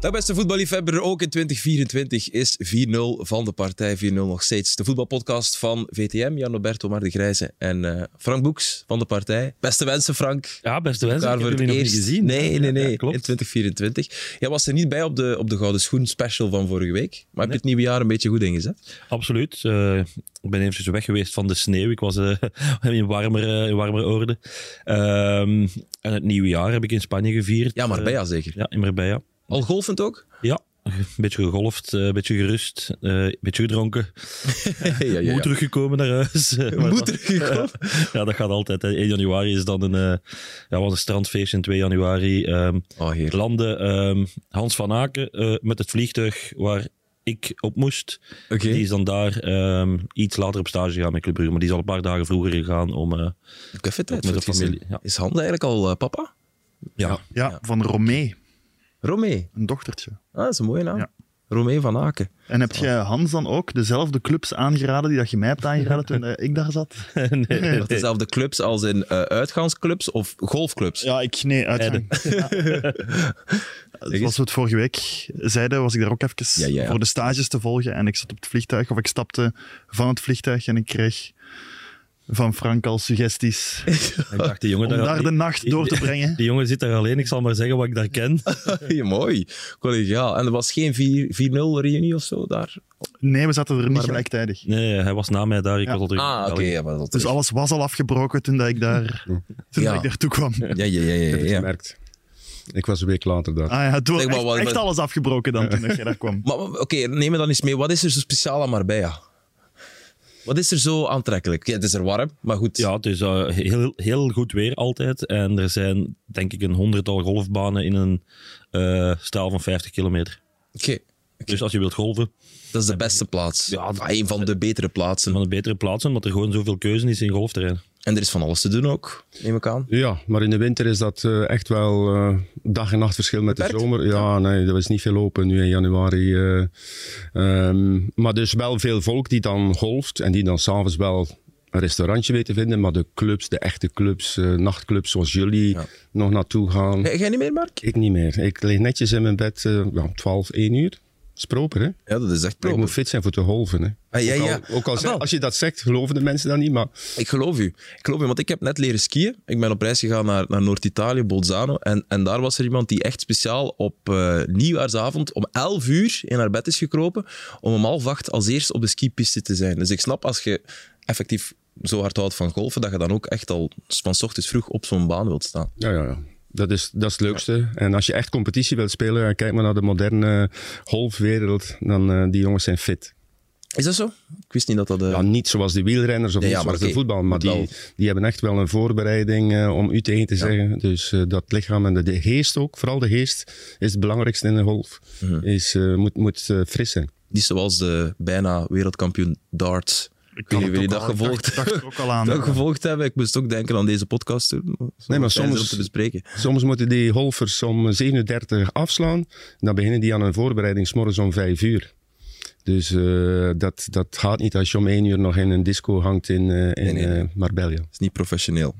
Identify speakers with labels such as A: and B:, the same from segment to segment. A: De beste voetballiefhebber, ook in 2024 is 4-0 van de partij 4-0 nog steeds. De voetbalpodcast van VTM, Jan-Roberto Maar de Grijze en eh, Frank Boeks van de partij. Beste wensen, Frank.
B: Ja, beste wensen.
A: Elkaar
B: Ik heb jullie nog niet gezien.
A: Nee, nee, nee.
B: Ja, klopt.
A: In 2024. Jij was er niet bij op de, op de Gouden Schoen special van vorige week. Maar heb je het nieuwe jaar een beetje goed ingezet?
B: Absoluut. Eh, ik ben eventjes weg geweest van de sneeuw. Ik was eh, in warmere, in warmere orde. Ehm, en het nieuwe jaar heb ik in Spanje gevierd.
A: Ja, maar bij
B: Eh,
A: jou zeker.
B: ja, in Marbella.
A: Al golfend ook?
B: Ja, een beetje gegolfd, eh, een beetje gerust, eh, een beetje gedronken.
A: ja, ja,
B: Moe teruggekomen naar huis. Eh, maar
A: Moe
B: dat-
A: teruggekomen.
B: ja, dat gaat altijd. hè. 1 januari is dan een, eh, ja, was een strandfeest in 2 januari. ehm,
A: Oh, heerlijk.
B: landde ehm, Hans van Aken eh, met het vliegtuig waar ik op moest.
A: Oké.
B: Die is dan daar ehm, iets later op stage gegaan met Club Brugge, maar die is al een paar dagen vroeger gegaan om... eh,
A: Ik heb even tijd
B: Met
A: voor
B: de
A: het
B: familie,
A: gezin.
B: ja.
A: Is Hans eigenlijk al eh, papa?
B: ja,
C: Ja, van Romee,
A: Romee.
C: een dochtertje.
A: Ah, dat is een mooie naam.
C: Ja.
A: Romee van Aken.
C: En heb jij Hans dan ook dezelfde clubs aangeraden die dat je mij hebt aangeraden toen eh, ik daar zat?
B: nee, nee, nee.
A: Of dezelfde clubs als in eh, uitgaansclubs of golfclubs?
C: Ja, ik... Nee, uitgang. Ja. Zoals we het vorige week zeiden, was ik daar ook even
A: Ja, ja, ja.
C: voor de stages te volgen. En ik zat op het vliegtuig, of ik stapte van het vliegtuig en ik kreeg van Frank al suggesties
B: Ik dacht, die jongen
C: om daar de
B: die-
C: nacht door te brengen.
B: Die jongen zit daar alleen, ik zal maar zeggen wat ik daar ken.
A: Ja, mooi. Collegiaal. En er was geen 4- 4-0 reunie of zo daar?
C: Nee, we zaten er niet
A: Maar-
C: gelijktijdig.
B: Nee, hij was na mij daar, ik
C: Ja.
B: was al terug. in
A: Ah, oké.
B: België.
A: ja, maar dat
C: Dus alles was al afgebroken toen dat ik daar, toen
A: Ja.
C: dat ik daartoe kwam.
A: Ja, ja, ja. ja,
D: heb ik
A: ja.
D: gemerkt. Ik was een week later daar.
C: Ah ja, toen
A: Zeg, maar
C: echt,
A: wat-
C: echt alles afgebroken dan toen dat jij daar kwam.
A: Maar maar, oké, neem me dan eens mee. Wat is er zo speciaal aan Marbella? Wat is er zo aantrekkelijk? Ja, het is er warm, maar goed.
B: Ja, het is eh, heel, heel goed weer altijd. En er zijn denk ik een honderdtal golfbanen in een eh, straal van 50 kilometer.
A: Oké,
B: Dus als je wilt golven,
A: dat is de beste plaats.
B: Ja, dat-
A: Ah, een van de betere plaatsen.
B: van een betere plaats, omdat er gewoon zoveel keuze is in golfterrein.
A: En er is van alles te doen ook, neem ik aan.
D: Ja, maar in de winter is dat eh, echt wel eh, dag en nacht verschil met
A: Beperkt?
D: de zomer. Ja, nee, er is niet veel open nu in januari. eh. Ehm, maar dus wel veel volk die dan golft en die dan s'avonds wel een restaurantje weet te vinden. Maar de clubs, de echte clubs, eh, nachtclubs zoals jullie,
A: Ja.
D: nog naartoe gaan.
A: Ga jij niet meer, Mark?
D: Ik niet meer. Ik lig netjes in mijn bed eh, ja, om 12, 1 uur. Sproper, hè?
A: Ja, dat is echt
D: Ik moet
A: proper.
D: fit zijn voor te golven. Hè?
A: Ah, ja,
D: ook al,
A: ja.
D: Ook al
A: Ah,
D: zeg-
A: wel.
D: als je dat zegt, geloven de mensen dat niet. Maar
A: Ik geloof u. Ik geloof u, want ik heb net leren skiën. Ik ben op reis gegaan naar, naar Noord-Italië, Bolzano. En, en daar was er iemand die echt speciaal op eh, nieuwjaarsavond om 11 uur in haar bed is gekropen. Om om half acht als eerst op de skipiste te zijn. Dus ik snap als je effectief zo hard houdt van golfen, dat je dan ook echt al van 's ochtends vroeg op zo'n baan wilt staan.
D: Ja, ja, ja. Dat is, dat is het leukste. En als je echt competitie wilt spelen, ja, kijk maar naar de moderne eh, golfwereld, dan eh, die jongens zijn fit.
A: Is dat zo? Ik wist niet dat dat. eh,
D: Ja, niet zoals de wielrenners of
A: Ja,
D: niet
A: ja, maar
D: zoals de
A: oké.
D: voetbal, maar
A: Maar wel-
D: die, die hebben echt wel een voorbereiding eh, om u tegen te zeggen. Dus eh, dat lichaam en de, de geest ook, vooral de geest, is het belangrijkste in de golf.
A: Mhm.
D: Is, eh, moet moet eh, fris zijn.
A: Niet zoals de bijna wereldkampioen darts. Ik weet
C: had
A: niet
C: het
A: of jullie
C: ook
A: dat
C: al- ik dacht-
A: gevolgd,
C: dacht er ook al aan.
A: dat gevolgd hebben. Ik moest ook denken aan deze podcast toen.
D: Nee, maar
A: Fijn om
D: soms-
A: te bespreken.
D: Soms moeten die golfers om 37 afslaan. Dan beginnen die aan een voorbereiding s'morgens om 5 uur. Dus eh, dat, dat gaat niet als je om 1 uur nog in een disco hangt in, eh, in
A: nee, nee.
D: eh, Marbella.
A: Dat is niet professioneel.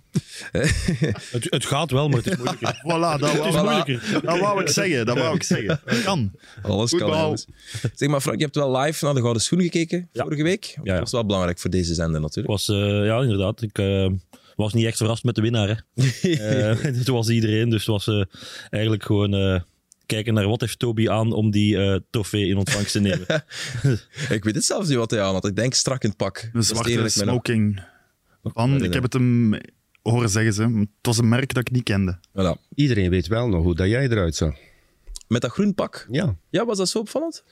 B: Het, het gaat wel, maar het is moeilijker.
C: Voilà, dat
B: Het is
C: wou,
B: moeilijker.
C: dat wou ik zeggen. Dat wou ik zeggen. Dat kan.
A: Alles kan.
C: Voetbal.
A: jongens. Zeg maar, Frank, je hebt wel live naar de Gouden Schoen gekeken
B: Ja.
A: vorige week.
B: ja.
A: Dat was wel belangrijk voor deze zender natuurlijk.
B: Was, eh, ja, inderdaad. Ik eh, was niet echt verrast met de winnaar. Hè. Eh, het was iedereen, dus het was eh, eigenlijk gewoon eh, kijken naar wat heeft Toby aan om die eh, trofee in ontvangst te nemen.
A: Ik weet het zelfs niet wat hij aan had. Ik denk strak in het pak. Dat is
C: Een
A: Oh, eerlijk
C: zwarte
A: met hem.
C: smoking. Van, ik heb het hem horen zeggen. Ze. Het was een merk dat ik niet kende.
A: Voilà.
D: Iedereen weet wel nog hoe dat jij eruit zag.
A: Met dat groen pak.
D: Ja.
A: Ja, was dat zo opvallend?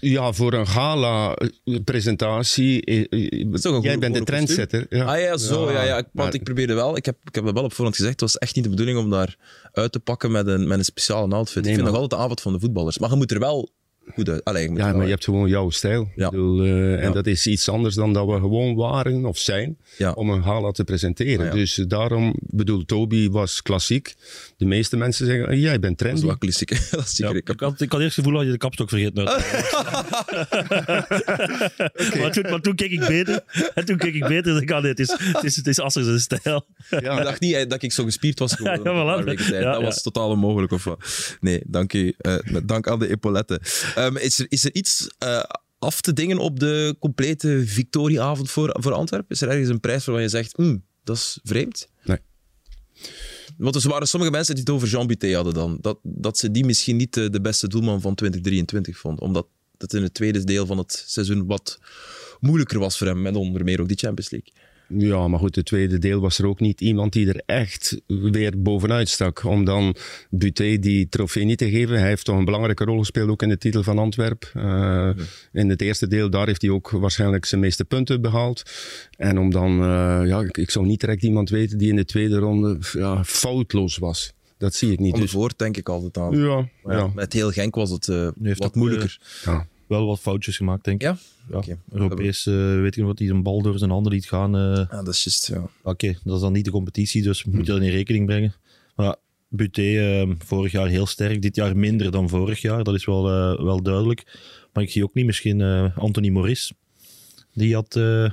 D: Ja, voor een gala-presentatie.
A: toch een
D: eh, Jij
A: goede-
D: bent de
A: goede
D: trendsetter.
A: Ah ja, zo. Ja, ja. ik- Want
D: maar-
A: ik probeerde wel. Ik heb, ik heb het wel op voorhand gezegd. Het was echt niet de bedoening om daar uit te pakken met een, met een speciale outfit.
D: Nee,
A: ik vind
D: maar-
A: nog altijd de avond van de voetballers. Maar je moet er wel goed uit. Allee, ik moet
D: Ja,
A: wel-
D: maar je hebt gewoon jouw stijl.
A: Ja.
D: Ik bedoel, eh, en
A: Ja.
D: dat is iets anders dan dat we gewoon waren of zijn
A: Ja.
D: om een gala te presenteren.
A: Ah, ja.
D: Dus eh, daarom, bedoel, Toby was klassiek. De meeste mensen zeggen, eh, jij bent
A: Dat
D: trendy.
A: is wel klassiek. dat is
B: Ja,
A: zeker.
B: ik, had, ik had eerst het gevoel dat je de kapstok vergeten had. maar, toen, maar toen keek ik beter. En toen keek ik beter. Dus ik dacht, nee, het is, het is, het is Assers een stijl.
A: Ik dacht niet eh, dat ik zo gespierd was geworden.
B: Ja,
A: op een
B: voilà.
A: paar weken tijd.
B: Ja,
A: dat
B: ja.
A: was totaal onmogelijk. Of wat. Nee, dank u. Eh, met dank aan de epauletten. Ehm, is, er, is er iets eh, af te dingen op de complete victorieavond voor, voor Antwerpen? Is er ergens een prijs waarvan je zegt, "Hmm, dat is vreemd?
D: Nee.
A: Want er waren sommige mensen die het over Jean Buté hadden dan. Dat, dat ze die misschien niet eh, de beste doelman van 2023 vond. Omdat dat in het tweede deel van het seizoen wat moeilijker was voor hem. Met onder meer ook die Champions League.
D: Ja, maar goed, het tweede deel was er ook niet iemand die er echt weer bovenuit stak. Om dan Buté die trofee niet te geven. Hij heeft toch een belangrijke rol gespeeld ook in de titel van Antwerp. Eh, In het eerste deel, daar heeft hij ook waarschijnlijk zijn meeste punten behaald. En om dan, eh, ja, ik, ik zou niet direct iemand weten die in de tweede ronde f- ja, foutloos was. Dat zie ik niet.
A: Om de
D: Dus,
A: voort denk ik altijd aan.
D: ja,
A: Maar ja,
D: ja.
A: Met heel Genk was het eh,
B: heeft
A: wat
B: ook,
A: moeilijker.
D: ja.
B: Wel wat foutjes gemaakt, denk ik.
A: Ja?
B: Ja,
A: Oké.
B: Europees, eh, weet ik nog wat, die een bal door zijn handen liet gaan. eh,
A: Ja, ah, dat is juist, ja.
B: Oké, dat is dan niet de competitie, dus moet je dat in rekening brengen. Maar Buté, eh, vorig jaar heel sterk, dit jaar minder dan vorig jaar. Dat is wel, eh, wel duidelijk. Maar ik zie ook niet misschien eh, Anthony Morris. Die had eh,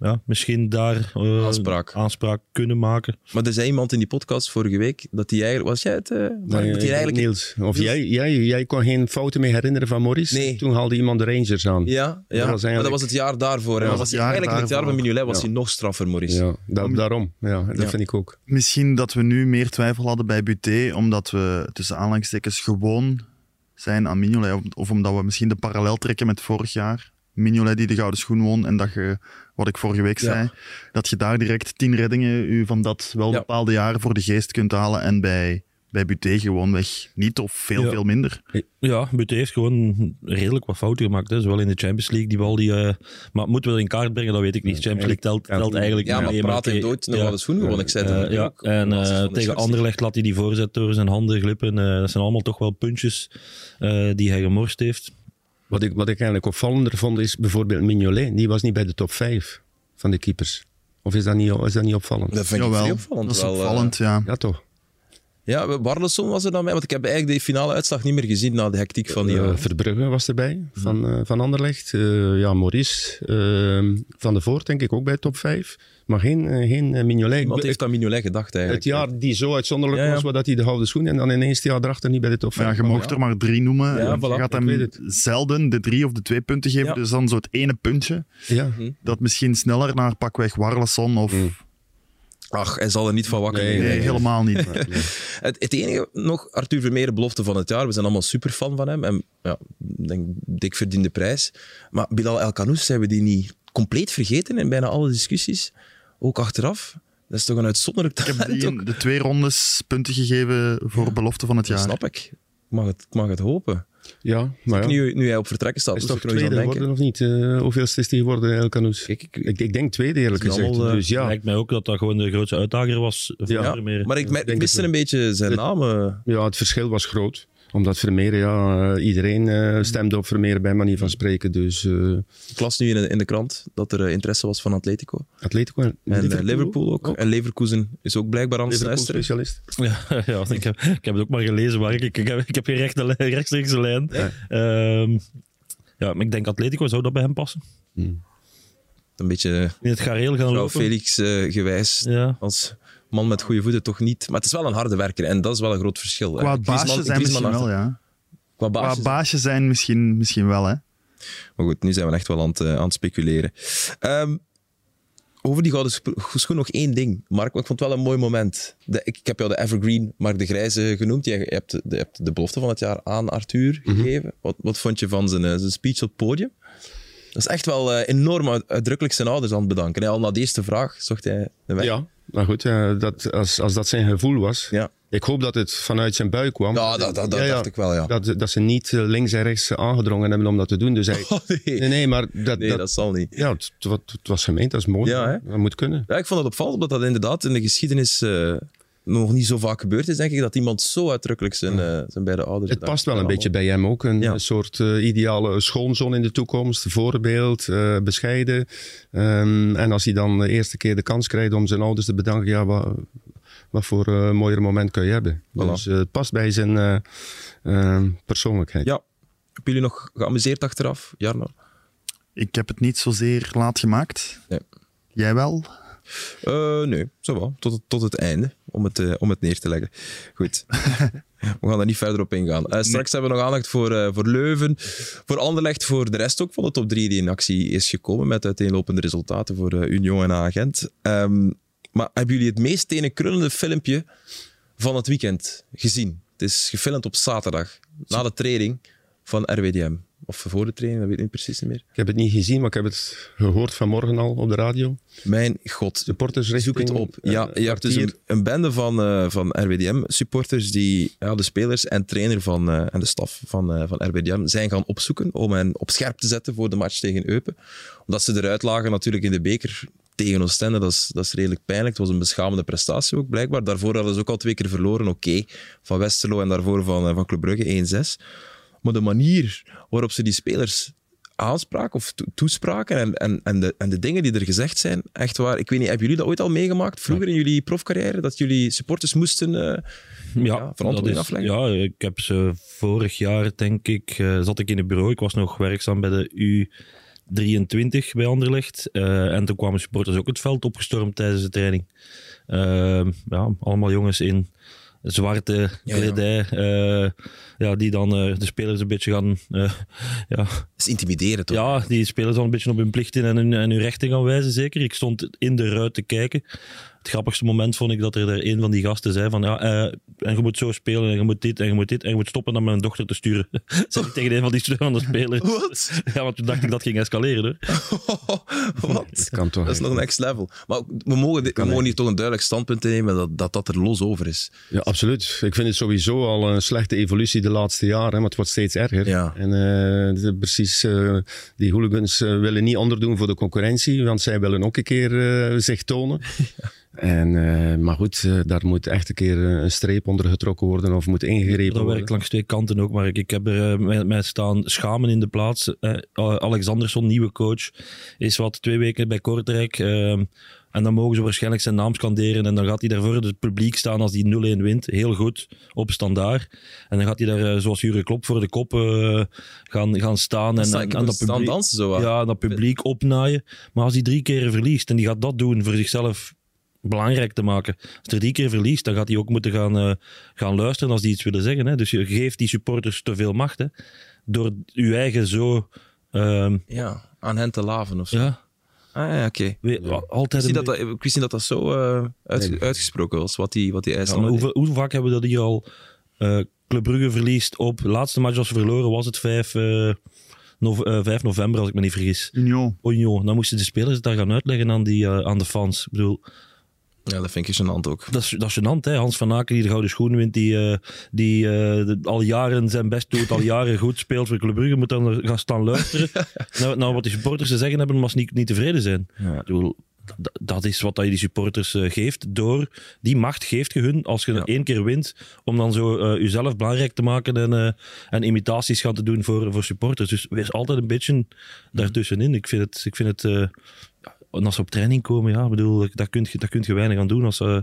B: ja, misschien daar eh,
A: Aanspraak.
B: aanspraak kunnen maken.
A: Maar er zei iemand in die podcast vorige week dat hij eigenlijk... Was jij het? eh, Mark?
D: Nee,
A: dat hij eigenlijk...
D: Niels, of jij, jij, jij kon geen fouten meer herinneren van Morris?
A: Nee.
D: Toen haalde iemand de Rangers aan.
A: Ja, ja.
D: was
A: maar
D: eigenlijk-
A: dat was het jaar daarvoor. En
C: Dat
A: dan
C: was
A: was hij
C: het jaar
A: eigenlijk in het jaar van
C: daarvoor.
A: Mignolet was
D: Ja.
A: hij nog straffer, Maurice.
D: Ja, da- daarom. Ja, dat
A: Ja.
D: vind ik ook.
C: Misschien dat we nu meer twijfel hadden bij Buté, omdat we tussen aanhalingstekens gewoon zijn aan Mignolet. Of, of omdat we misschien de parallel trekken met vorig jaar. Mignolet die de gouden schoen won en dat je, wat ik vorige week
A: Ja.
C: zei, dat je daar direct tien reddingen u van dat wel
A: Ja.
C: bepaalde jaar voor de geest kunt halen. En bij, bij Buté gewoonweg niet of veel,
B: Ja.
C: veel minder.
B: Ja, Buté heeft gewoon redelijk wat fouten gemaakt. Hè. Zowel in de Champions League, die bal die... eh, maar moeten we dat in kaart brengen, dat weet ik niet. Champions League telt, telt eigenlijk
A: Ja,
B: niet
A: maar
B: mee,
A: Praat heeft
B: oké,
A: ooit nog
B: ja.
A: wel de schoen gewonnen. Ik zei dat
B: Eh, ja,
A: ook.
B: en
A: Op
B: eh,
A: basis van de
B: tegen
A: schurft.
B: Anderlecht laat hij die voorzet door zijn handen glippen. Eh, dat zijn allemaal toch wel puntjes eh, die hij gemorst heeft.
D: Wat ik, wat ik eigenlijk opvallender vond is bijvoorbeeld Mignolet. Die was niet bij de top 5 van de keepers. Of is dat niet, is dat niet opvallend?
A: Dat vind ik
C: Jawel,
A: heel opvallend.
C: dat is
A: wel, eh.
C: opvallend, ja.
D: Ja, toch?
A: Ja, Barleson was er dan bij. Want ik heb eigenlijk de finale uitslag niet meer gezien na de hectiek van die...
D: Eh,
A: avond.
D: Verbrugge was erbij van, eh, van Anderlecht. Eh, ja, Maurice. eh, van de Voort denk ik ook bij de top 5. Maar geen, eh, geen eh, Mignolet.
A: Iemand
D: Ik-
A: heeft aan Mignolet gedacht
D: het
A: eigenlijk.
D: jaar die zo uitzonderlijk
A: Ja, ja.
D: was, waar dat hij de gouden schoen en dan ineens het jaar erachter niet bij de top 5
C: Maar ja, je mocht er maar drie noemen.
A: Ja,
C: je
A: voilà,
D: ik
C: gaat
D: weet
C: hem
D: het.
C: zelden de drie of de twee punten geven.
A: Ja.
C: Dus dan zo het ene puntje.
D: Ja.
C: dat misschien sneller naar pakweg Warleson of...
A: Ach, hij zal er niet van wakker
D: Nee,
A: liggen.
C: Nee, helemaal niet.
A: Het, het enige nog, Arthur Vermeer, belofte van het jaar. We zijn allemaal superfan van hem. En ja, ik denk, dik verdiende prijs. Maar Bilal El Khanous hebben we die niet compleet vergeten in bijna alle discussies. Ook achteraf. Dat is toch een uitzonderlijk
C: Ik heb
A: talent
C: die
A: ook.
C: de twee rondes punten gegeven voor belofte van het
A: Dat
C: jaar.
A: snap ik. Ik mag het, ik mag het hopen.
D: ja, maar ja.
A: Nu, nu hij op vertrekken staat,
D: Is
A: moet ik
D: toch
A: er nog eens
D: tweede
A: aan denken.
D: geworden of niet? Eh hoeveelste is die geworden, El Canoes?
A: Kijk, ik-
D: ik, ik denk tweede, eerlijk
B: Het is
D: gezegd.
B: allemaal, eh,
D: dus ja,
B: Lijkt mij ook dat dat gewoon de grootste uitdager was. Voor
D: Ja,
A: Ja,
B: Vermeer.
A: maar ik, mer-
D: denk
A: ik
D: het
A: miste
D: wel.
A: een beetje zijn
D: Het-
A: naam. eh.
D: Ja, het verschil was groot. Omdat Vermeer, ja, eh, iedereen eh, stemde op Vermeer bij manier van spreken. Dus eh,
A: Ik las nu in de, in de krant dat er eh, interesse was van Atletico. En
D: Atletico en, Oh,
A: eh, Liverpool, ook. En Leverkusen is ook blijkbaar aan het
D: Liverpool
A: luisteren.
D: specialist.
B: Ja, ja, want ik, heb, ik heb het ook maar gelezen, maar ik, ik, heb, ik heb geen rechte, lijn- rechtstreekse lijn. Ehm, ja, maar ik denk Atletico zou dat bij hem passen.
A: Een beetje eh,
B: In het gareel gaan
A: Joao
B: lopen.
A: Felix eh, gewijs.
B: Ja.
A: Als man met goede voeten toch niet. Maar het is wel een harde werker en dat is wel een groot verschil. hè.
C: Qua
A: Griezmann-
C: baasje zijn
A: Griezmann
C: misschien wel,
A: achter-
C: ja.
A: Qua baasjes.
C: Qua baasje zijn misschien, misschien wel, hè.
A: maar goed, nu zijn we echt wel aan het, eh, aan het speculeren. Ehm, over die gouden sp- schoen nog één ding, Mark. Want ik vond het wel een mooi moment. De, ik, ik heb jou de Evergreen, Mark de Grijze genoemd. Jij je hebt de, je hebt de belofte van het jaar aan Arthur gegeven. wat, wat vond je van zijn, eh, zijn speech op het podium? Dat is echt wel eh, enorm uit- uitdrukkelijk zijn ouders aan het bedanken. hè. Al na de eerste vraag zocht hij de weg.
D: Ja, maar goed, eh, dat, als, als dat zijn gevoel was.
A: Ja.
D: Ik hoop dat het vanuit zijn buik kwam.
A: Ja, dat- dat- dat dacht ik wel, ja.
D: Dat, dat ze niet eh, links en rechts eh, aangedrongen hebben om dat te doen. Dus hij,
A: Oh, nee.
D: nee, nee, maar dat,
A: nee,
D: dat,
A: dat zal niet.
D: ja, het, het- het was gemeend, dat is mooi.
A: Ja, hè?
D: dat moet kunnen.
A: Ja, ik vond het opvallend, omdat dat inderdaad in de geschiedenis eh, nog niet zo vaak gebeurd is, denk ik, dat iemand zo uitdrukkelijk zijn, eh, zijn beide ouders...
D: Dus Het
A: dankt.
D: past wel een
A: Ja,
D: beetje bij hem ook. Een
A: Ja.
D: een soort eh, ideale schoonzoon in de toekomst. Voorbeeld, eh, bescheiden. Ehm, en als hij dan de eerste keer de kans krijgt om zijn ouders te bedanken. Ja, wat, wat voor eh, mooier moment kun je hebben.
A: Voilà.
D: Dus eh, het past bij zijn eh, ehm, persoonlijkheid.
A: Ja. Hebben jullie nog geamuseerd achteraf, Jarno?
C: Ik heb het niet zozeer laat gemaakt.
A: Nee.
C: Jij wel?
A: Eh, nee, zo wel. Tot, het- tot het einde, om het, eh, om het neer te leggen. Goed. We gaan daar niet verder op ingaan. Eh, straks hebben we nog aandacht voor, eh, voor Leuven, voor Anderlecht, voor de rest ook van de top 3 die in actie is gekomen met uiteenlopende resultaten voor eh, Union en Agent. Ehm maar hebben jullie het meest tenenkrullende filmpje van het weekend gezien? Het is gefilmd op zaterdag, na de training van RWDM. Of voor de training, dat weet ik niet precies niet meer.
D: Ik heb het niet gezien, maar ik heb het gehoord vanmorgen al op de radio.
A: Mijn god,
D: Supporters
A: Zoek het op. Ja,
D: eh,
A: je hebt dus een, een bende van, eh, van RWDM-supporters die ja, de spelers en trainer van, eh, en de staf van, eh, van RWDM zijn gaan opzoeken om hen op scherp te zetten voor de match tegen Eupen. Omdat ze eruit lagen natuurlijk in de beker tegen Oostende. Dat is, dat is redelijk pijnlijk. Het was een beschamende prestatie ook, blijkbaar. Daarvoor hadden ze ook al twee keer verloren, oké. Van Westerlo en daarvoor van, eh, van Club Brugge 1-6. Maar de manier waarop ze die spelers aanspraken of to- toespraken en, en, en, de, en de dingen die er gezegd zijn, echt waar. Ik weet niet, hebben jullie dat ooit al meegemaakt vroeger in jullie profcarrière? Dat jullie supporters moesten. eh, Ja, verantwoording
B: dat is-
A: afleggen.
B: Ja, ik heb ze vorig jaar, denk ik, eh, zat ik in het bureau. Ik was nog werkzaam bij de U23 bij Anderlecht. Eh, en toen kwamen supporters ook het veld opgestormd tijdens de training. Ehm, ja, allemaal jongens in zwarte
A: Ja, ja.
B: kledij. eh, ja, die dan eh, de spelers een beetje gaan... eh, ja,
A: dat is intimideren toch?
B: ja, die spelers dan een beetje op hun plichten en hun, en hun rechten gaan wijzen, zeker. Ik stond in de ruit te kijken. Het grappigste moment vond ik dat er daar een van die gasten zei van ja, eh, en je moet zo spelen, en je moet dit, en je moet dit, en je moet stoppen om mijn dochter te sturen. zei ik tegen een van die studenten spelers.
A: Wat?
B: Ja, want toen dacht ik dat ging escaleren. Hoor.
A: Wat?
D: kan toch
A: Dat is nog
D: eigenlijk.
A: next level. Maar ook, we mogen, dit- we mogen hier toch een duidelijk standpunt innemen dat, dat dat er los over is.
D: Ja, absoluut. Ik vind het sowieso al een slechte evolutie de laatste jaren, maar het wordt steeds erger.
A: Ja.
D: En eh, de- precies, eh, die hooligans eh, willen niet onderdoen voor de concurrentie, want zij willen ook een keer eh, zich tonen. En, eh, maar goed, eh, daar moet echt een keer eh, een streep onder getrokken worden of moet ingegrepen
B: Dat werkt
D: worden.
B: langs twee kanten ook, maar ik, ik heb er eh, mij, mij staan schamen in de plaats. Eh, A- Alexanderson, nieuwe coach, is wat twee weken bij Kortrijk. eh, en dan mogen ze waarschijnlijk zijn naam scanderen. En dan gaat hij daarvoor het publiek staan als die 0-1 wint. Heel goed, op standaard. En dan gaat hij daar, eh, zoals Jure Klop, voor de kop eh, gaan, gaan staan. En,
A: sta
B: en-
A: ik
B: en
A: op
B: dat
A: staan
B: publiek,
A: dansen zo ah. wat.
B: Ja, dat publiek opnaaien. Maar als hij drie keer verliest en die gaat dat doen voor zichzelf belangrijk te maken. Als hij drie keer verliest, dan gaat hij ook moeten gaan, eh, gaan luisteren als die iets willen zeggen. Hè. Dus je geeft die supporters te veel macht. Hè. Door je eigen zo... ehm,
A: Ja, aan hen te laven of zo.
B: ja,
A: Ah ja, oké. Ik
B: we- altijd
A: wist
B: een
A: niet dat dat- Ik wist niet dat dat zo eh, uitge- uitgesproken was, wat die, wat die
B: Ja, maar
A: IJslander
B: hoeveel- hoe vaak hebben we dat hier al? eh Club Brugge verliest op... Laatste match als ze verloren was het 5, eh, nov- eh, 5 november, als ik me niet vergis.
C: Union.
B: Union. Dan moesten de spelers het daar gaan uitleggen aan, die, eh, aan de fans. Ik bedoel,
A: deed. Ja, dat vind ik gênant ook.
B: dat is, dat is gênant, hè. Hans van Aken die de gouden schoen wint, die, eh, die eh, al jaren zijn best doet, al jaren goed speelt voor Club Brugge, moet dan gaan staan luisteren naar, naar wat die supporters te zeggen hebben, maar ze niet, niet tevreden zijn.
A: Ja.
B: Ik bedoel, d- dat is wat dat je die supporters eh, geeft door, die macht geeft je hun als je
A: Ja.
B: één keer wint, om dan zo eh, jezelf belangrijk te maken en, eh, en imitaties gaan te doen voor, voor supporters. Dus wees altijd een beetje daartussenin. Ik vind het... Ik vind het eh, en als ze op training komen, ja, ik bedoel, daar kun je, daar kun je weinig aan doen als, eh,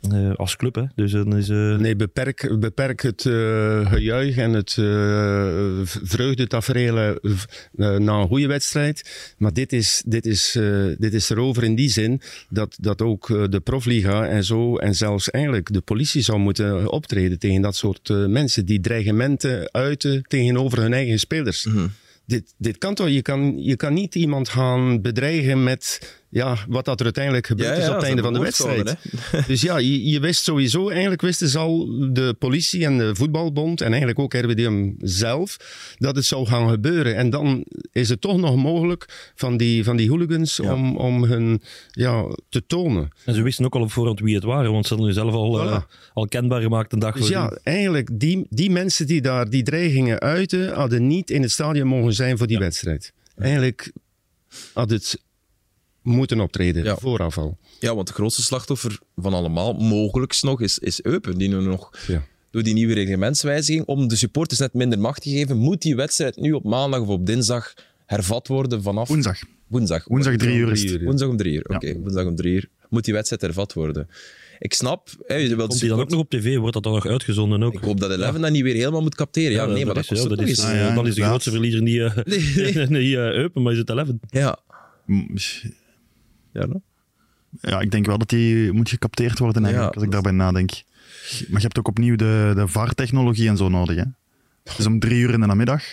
B: eh, als club. Hè. Dus dan is, eh,
D: Nee, beperk, beperk het eh, gejuich en het eh, v- vreugdetaferelen v- eh, na een goede wedstrijd. Maar dit is, dit is, eh, dit is erover in die zin dat, dat ook eh, de profliga en zo, en zelfs eigenlijk de politie zou moeten optreden tegen dat soort eh, mensen die dreigementen uiten tegenover hun eigen spelers.
A: Mhm.
D: Dit, dit kan toch? Je kan, je kan niet iemand gaan bedreigen met ja, wat dat er uiteindelijk gebeurd
A: Ja,
D: is
A: ja,
D: op het
A: ze
D: einde van de
A: hebben woordvoerder,
D: wedstrijd.
A: hè.
D: Dus ja, je, je wist sowieso, eigenlijk wisten ze al, de politie en de voetbalbond en eigenlijk ook RWDM zelf, dat het zou gaan gebeuren. En dan is het toch nog mogelijk van die, van die hooligans om, om hun ja, te tonen.
B: en ze wisten ook al op voorhand wie het waren, want ze hadden zelf al, eh, al kenbaar gemaakt een dag
D: Dus
B: voor
D: ja, eigenlijk, die, die mensen die daar die dreigingen uiten, hadden niet in het stadion mogen zijn voor die wedstrijd. Eigenlijk had het moeten optreden,
A: Ja.
D: vooraf al.
A: Ja, want de grootste slachtoffer van allemaal, mogelijks nog, is, is Eupen. Die nu nog
D: Ja.
A: door die nieuwe reglementswijziging, om de supporters net minder macht te geven, moet die wedstrijd nu op maandag of op dinsdag hervat worden vanaf...
C: Woensdag.
A: Woensdag.
C: Woensdag drie uur is
D: drie
C: het.
D: uur, ja.
A: Woensdag om drie uur. Oké,
C: Ja.
A: woensdag om drie uur moet die wedstrijd hervat worden. Ik snap... Hè, je wilt
B: Komt die dan ook
A: support-
B: nog op tv? Wordt dat dan nog uitgezonden ook? Eh,
A: Ik hoop dat Eleven dat niet weer helemaal moet capteren. Ja, nee, maar dat
B: is,
A: kost
B: ja,
A: ook nog
B: is,
A: eens.
C: Ah, ja,
B: eh, Dan is de
C: inderdaad.
B: grootste verliezer niet,
A: Nee,
B: eh
A: nee.
B: niet eh, Eupen, maar is het 11.
A: Ja.
C: Mm,
A: Ja, no?
C: Ja, ik denk wel dat die moet gecapteerd worden eigenlijk,
A: Ja,
C: als ik daarbij nadenk. Maar je hebt ook opnieuw de, de VAR-technologie en zo nodig. Hè? Dus om drie uur in de namiddag,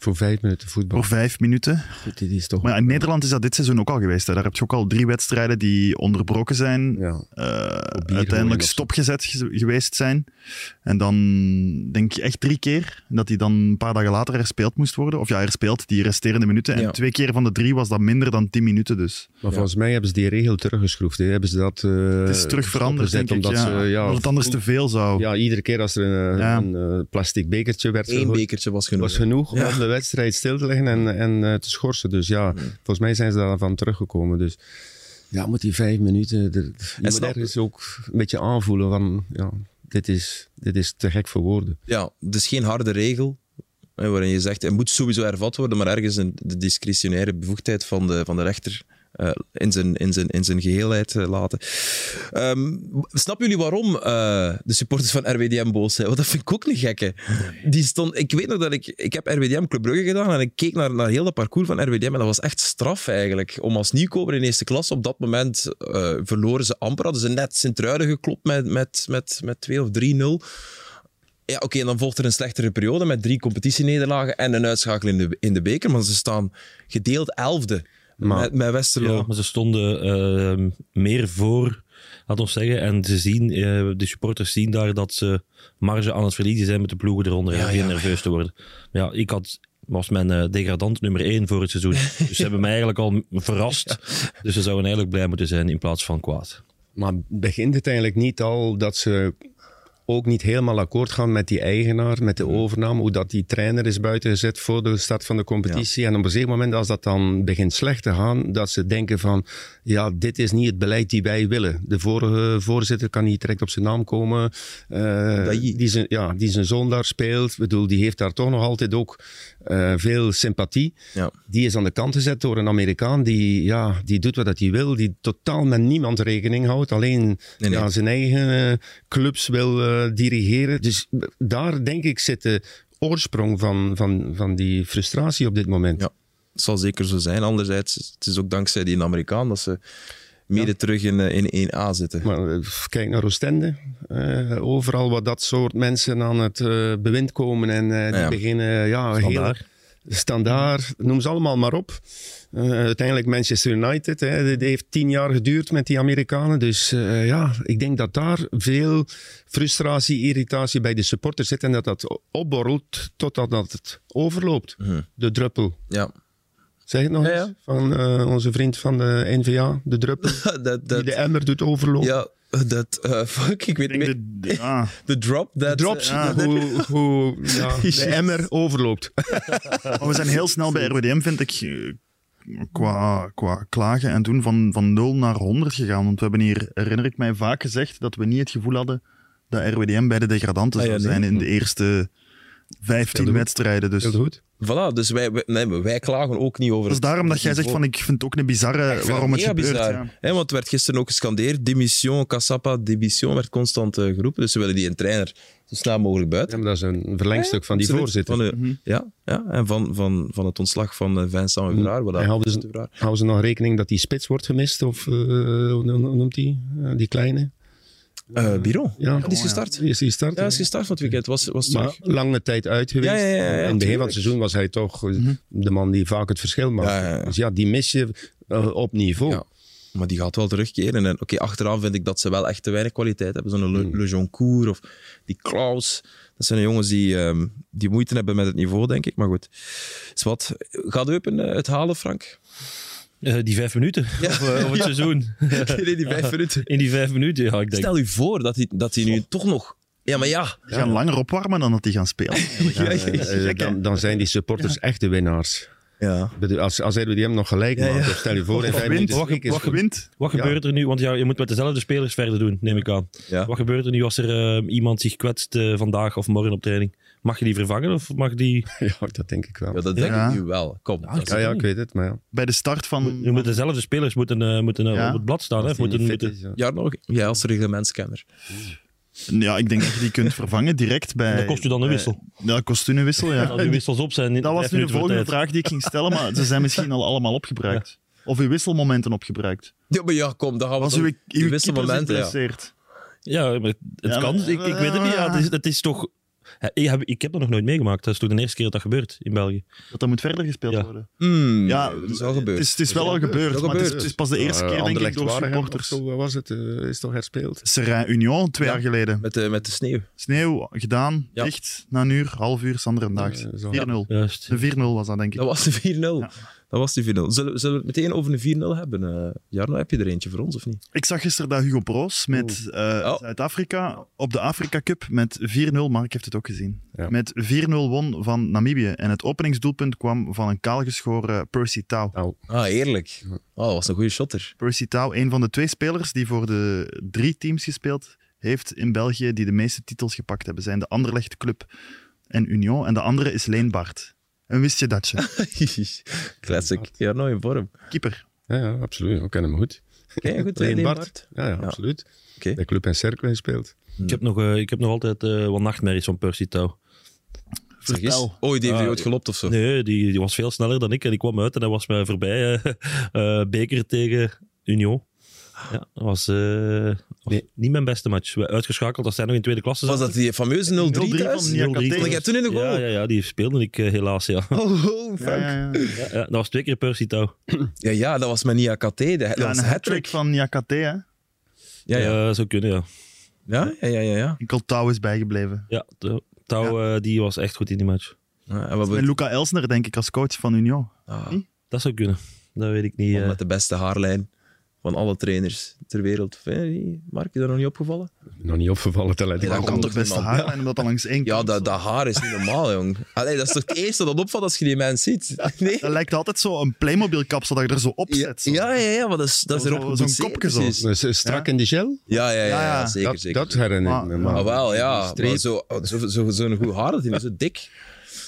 D: Voor vijf minuten voetbal.
C: voor vijf minuten.
D: Goed, die is toch...
C: Maar ja, in Nederland is dat dit seizoen ook al geweest. Hè? Daar heb je ook al drie wedstrijden die onderbroken zijn.
D: Ja.
C: eh,
D: bier
C: uiteindelijk
D: of zo.
C: stopgezet ge- geweest zijn. En dan denk ik echt drie keer dat die dan een paar dagen later herspeeld moest worden. Of ja, herspeeld, die resterende minuten. En
A: Ja.
C: twee keer van de drie was dat minder dan tien minuten dus.
D: Maar volgens mij hebben ze die regel teruggeschroefd. Hè. Hebben ze dat... eh,
C: Het is terug veranderd,
D: stopgezet
C: denk ik.
D: Omdat
C: ja.
D: ze, ja,
C: Omdat het anders te veel zou.
D: ja, iedere keer als er een, eh,
C: Ja.
D: een eh, plastic bekertje werd
A: Eén
D: gegooid,
A: bekertje was genoeg.
D: was genoeg
A: Ja.
D: om de wedstrijd stil te leggen en, en eh, te schorsen. Dus ja, volgens mij zijn ze daarvan teruggekomen. Dus ja, moet die vijf minuten... Er, je moet
A: snap-
D: ergens ook een beetje aanvoelen van... Ja, dit is, dit is te gek voor woorden.
A: Ja, dus geen harde regel hè, waarin je zegt het moet sowieso hervat worden, maar ergens een, de discretionaire bevoegdheid van de, van de rechter eh, in, zijn, in, zijn, in zijn geheelheid eh, laten. Ehm, snappen jullie waarom eh, de supporters van RWDM boos zijn? Want dat vind ik ook een gekke. Die stond, ik weet nog dat ik... Ik heb RWDM Club Brugge gedaan en ik keek naar, naar heel dat parcours van RWDM en dat was echt straf eigenlijk. Om als nieuwkomer in eerste klas op dat moment eh, verloren ze amper. Hadden ze net Sint-Truiden geklopt met, met, met, met 2 of 3-0. Ja, oké, en dan volgt er een slechtere periode met drie competitienederlagen en een uitschakeling in de, in de beker. Maar ze staan gedeeld elfde
D: Maar-
A: met, met Westerlo.
B: Ja, maar ze stonden eh, meer voor, laat ons zeggen. En ze zien, eh, de supporters zien daar dat ze marge aan het verliezen zijn met de ploegen eronder. en begin nerveus te worden. Maar ja, ik had, was mijn eh, degradant nummer één voor het seizoen. Dus ze hebben mij eigenlijk al verrast. Dus ze zouden eigenlijk blij moeten zijn in plaats van kwaad.
D: Maar begint het eigenlijk niet al dat ze ook niet helemaal akkoord gaan met die eigenaar, met de overname, hoe dat die trainer is buitengezet voor de start van de competitie. En op een zeker moment, als dat dan begint slecht te gaan, dat ze denken van, ja, dit is niet het beleid die wij willen. De vorige voorzitter kan niet direct op zijn naam komen. Eh,
A: Dailly.
D: die, zijn, ja, die zijn zoon daar speelt. Ik bedoel, die heeft daar toch nog altijd ook eh, veel sympathie.
A: Ja.
D: Die is aan de kant gezet door een Amerikaan die, ja, die doet wat dat hij wil, die totaal met niemand rekening houdt, alleen
A: Nee, nee.
D: Ja, zijn eigen eh, clubs wil eh, dirigeren. Dus eh, daar denk ik zit de oorsprong van, van, van die frustratie op dit moment.
A: Ja, het zal zeker zo zijn. Anderzijds, het is ook dankzij die Amerikaan dat ze mede terug in, eh, in 1A zitten.
D: Maar eh, kijk naar Oostende. Eh, overal wat dat soort mensen aan het eh, bewind komen en eh, die
A: Ja.
D: beginnen ja, heel,
B: Vandaar.
D: Standaard, noem ze allemaal maar op. Eh, uiteindelijk Manchester United. Hè, dit heeft tien jaar geduurd met die Amerikanen. Dus eh, ja, ik denk dat daar veel frustratie, irritatie bij de supporters zit. En dat dat opborrelt totdat dat het overloopt.
A: Mhm.
D: De druppel.
A: Ja,
D: Zeg het nog
A: Ja,
D: eens?
A: ja.
D: Van eh, onze vriend van de NVA, de druppel.
A: dat...
D: Die
A: dat
D: de emmer doet overlopen.
A: ja, dat... eh, fuck, ik weet
C: Ik
A: niet
C: denk dat- ja.
A: De drop.
D: De
A: dat
D: drops,
C: Ja.
D: hoe, hoe ja, de emmer overloopt.
C: Maar Oh, we zijn heel snel bij RWDM, vind ik, eh, qua, qua klagen en doen van, van 0 naar 100 gegaan. Want we hebben hier, herinner ik mij, vaak gezegd dat we niet het gevoel hadden dat RWDM bij de degradanten
A: Ah, ja,
C: zou
A: nee.
C: zijn in de eerste 15 wedstrijden. Dus
D: Heel
C: dat
D: goed.
A: Voilà, dus wij, wij- nee, maar wij klagen ook niet over...
C: is daarom dat jij
A: het
C: zegt van ik vind het ook een bizarre
A: Ik vind
C: waarom het
A: mega
C: gebeurt.
A: bizar.
C: ja.
A: Hè, want het werd gisteren ook gescandeerd. Demission, Cassapa, demission werd constant eh, geroepen. Dus ze willen die een trainer zo snel mogelijk buiten.
D: Ja, maar dat is een verlengstuk van die
A: Absoluut.
D: voorzitter.
A: Van de- ja, ja, en van, van, van het ontslag van eh, Vincent
D: Mhm.
A: Euvraar. wat dat-
D: En houden ze, houden ze nog rekening dat die spits wordt gemist? Of eh, hoe noem- hoe noemt die? Eh, die kleine?
A: Eh, Biro.
D: Ja.
A: Die is gestart.
D: Die is die start.
A: Ja, hij is gestart van het weekend. Was, was
D: maar
A: terug.
D: lange tijd uit geweest.
A: Ja, ja, ja, ja,
D: In het begin van
A: tuurlijk. Mhm.
D: het seizoen was hij toch eh, de man die vaak het verschil maakte.
A: Ja, ja, ja.
D: Dus ja, die mis je eh, op niveau.
A: Ja. Maar die gaat wel terugkeren. En oké, achteraan vind ik dat ze wel echt te weinig kwaliteit hebben. Zo'n Le,
D: Mhm.
A: Le Joncourt of die Klaus. Dat zijn de jongens die, ehm, die moeite hebben met het niveau, denk ik. Maar goed. Is wat. Gaat Eupen eh, het halen, Frank?
B: Eh, die vijf minuten of, eh, of het seizoen.
A: Nee, die vijf minuten.
B: In die vijf minuten, ja, ik denk.
A: Stel u voor dat hij, dat hij nu toch nog... Ja, maar ja.
C: Die gaan langer opwarmen dan dat die gaan spelen.
D: Eh, dan, dan zijn die supporters echt de winnaars.
A: Ja.
D: Bedoel, Als, als RWDM nog gelijk
A: Ja, ja.
D: maakt, of stel je voor, in
C: Wat
D: vijf minuten
C: gewint,
D: sneak is
C: wat
D: goed.
C: gewint.
B: Wat
D: Ja.
B: gebeurt er nu? Want ja, je moet met dezelfde spelers verder doen, neem ik aan.
A: Ja.
B: Wat gebeurt er nu als er eh, iemand zich kwetst eh, vandaag of morgen op training? Mag je die vervangen of mag die...
D: Ja, dat denk ik wel.
A: Ja, dat denk
C: Ja.
A: ik nu wel. Kom. dat is-
D: Ja, ja, ik weet het, maar ja.
C: Bij de start van...
B: Je moet dezelfde spelers moeten, eh, moeten eh,
C: Hmm. Ja.
B: op het blad staan. Hè? Of
D: Als die
B: Moeten,
D: niet fit
B: moeten...
D: is, ja.
A: Ja, nog. Jij als reglementskenner.
C: Ja, ik denk dat je die kunt vervangen direct bij...
B: Dat kost u dan een
C: bij-
B: wissel.
C: Ja, dat kost u een wissel, ja.
B: Als die wissels op zijn. in
C: Dat was
B: vijf
C: nu de
B: minuten voor
C: volgende
B: tijd.
C: vraag die ik ging stellen, maar ze zijn misschien al allemaal opgebruikt. Of uw wisselmomenten opgebruikt.
A: Ja, maar ja, kom, dan gaan we
C: Als
A: toch-
C: uw, uw
A: die
C: keeper zich
A: wisselmomenten, ja.
C: blesseert.
B: Ja, maar het
C: Ja,
B: kan.
C: maar-
B: Ik, ik weet het niet. Ja, het, is, het is toch... Ja, Ik heb, ik heb dat nog nooit meegemaakt. Dat is toch de eerste keer dat dat gebeurt in België.
C: Dat dat moet verder gespeeld
B: Ja.
C: worden.
A: Hmm,
C: Ja,
A: dat is wel
C: Het
A: gebeurd.
C: is, het is wel al gebeurd,
A: Dat
C: maar het is,
A: gebeurt.
C: het is pas de eerste keer,
D: Eh,
C: denk ik,
D: Anderlecht
C: door
D: Waregem
C: supporters.
D: of zo, Wat was het? eh, is toch herspeeld?
C: Serrain Union, twee
A: Ja.
C: jaar geleden.
A: Met de, met de sneeuw.
C: Sneeuw gedaan,
A: Ja.
C: dicht, na een uur, half uur, Sander en Daags. 4-0.
D: Eh, zo.
B: Juist.
C: De 4-0 was dat, denk ik.
A: Dat was de 4-0.
C: Ja.
A: Dat was de 4-0. Zullen, zullen we het meteen over een 4-0 hebben? eh Jarno, heb je er eentje voor ons of niet?
C: Ik zag gisteren dat Hugo Broos met eh,
A: Oh.
C: Zuid-Afrika op de Afrika Cup met 4-0, Mark heeft het ook gezien,
D: Ja.
C: met 4-0 won van Namibië. En het openingsdoelpunt kwam van een kaalgeschoren Percy Tau.
D: Nou,
A: Ah, eerlijk. Oh, dat was een goede shotter.
C: Percy Tau, een van de twee spelers die voor de drie teams gespeeld heeft in België die de meeste titels gepakt hebben, zijn de Anderlecht Club en Union. En de andere is Leen Bart. En wist je dat je?
A: Classic. Jarno in vorm.
C: Keeper.
D: ja, ja, absoluut. We kennen hem goed.
A: Oké, goed.
D: Alleen
A: Leen
D: Bart.
A: Bart.
D: Ja, ja, absoluut.
A: Oké.
D: Bij Club en Cercle gespeeld.
B: Ik heb, nog, eh, ik heb nog altijd eh wat nachtmerries van Percy Tau.
A: Zeg eens.
C: Vertel.
A: Oh, die heeft je
B: Ah,
A: ooit gelopt of zo?
B: Nee, die, die was veel sneller dan ik. En ik kwam uit en hij was mij voorbij. eh, eh, Beker tegen Union. Ja, dat was, eh, was
D: Nee.
B: niet mijn beste match. We uitgeschakeld als zij nog in tweede klasse
A: Was
B: zaten.
A: dat die fameuze 0-3
C: 0-3
A: thuis?
C: van Nia-
B: 0-3
C: Kat-
A: Lag jij toen in de goal?
B: Ja, ja, ja, die speelde ik eh, helaas, ja.
A: Oh, oh,
C: Ja,
A: Frank. Ja,
C: ja,
A: ja.
C: ja.
B: Ja, ja, dat was twee keer Percy Tau.
A: dat was met Nia Katé. Dat
C: Ja,
A: was
C: een
A: een
C: hat-trick
A: hat-trick.
C: van Niakate, hè?
A: Ja, ja.
B: Eh, zou kunnen, ja.
A: Ja, ja, ja, ja. ja.
C: Enkel Tau is bijgebleven.
B: ja de- Tau, eh, die was echt goed in die match.
A: Ja, en wat
C: En Luca Elsner, denk ik, als coach van Union.
A: ah,
B: Dat zou kunnen. Dat weet ik niet.
A: man
B: eh.
A: met de beste haarlijn van alle trainers ter wereld. Vind je die, Mark, is dat nog niet opgevallen?
D: Nog niet opgevallen, talent.
A: Nee,
D: Ik
A: dat
C: Dat
D: wou
C: kan
A: kan
C: toch
A: toch
C: best
A: niemand?
C: haar en dat dan langs één
A: Ja,
C: kant
A: dat, dat haar is niet normaal, jong. Allee, dat is toch het eerste dat opvalt als je die mens ziet? Nee.
C: Dat lijkt altijd zo een Playmobil-kapsel dat je er zo op
A: Ja,
C: zet. zo.
A: ja, ja, ja, maar dat is, dat is
C: Zo-
A: erop
C: zo'n
A: gebaseerd,
C: kopje zo.
A: precies.
D: Dus, eh, Strak in de gel?
A: Ja, ja, ja, ja,
C: Ja, ja.
A: zeker,
D: dat,
A: zeker.
D: dat herinner ik me.
C: Maar-
D: maar-
A: Ah, wel, ja.
D: Die streep.
A: Maar zo- oh, zo- zo- Zo'n goed haar, dat hij is zo dik.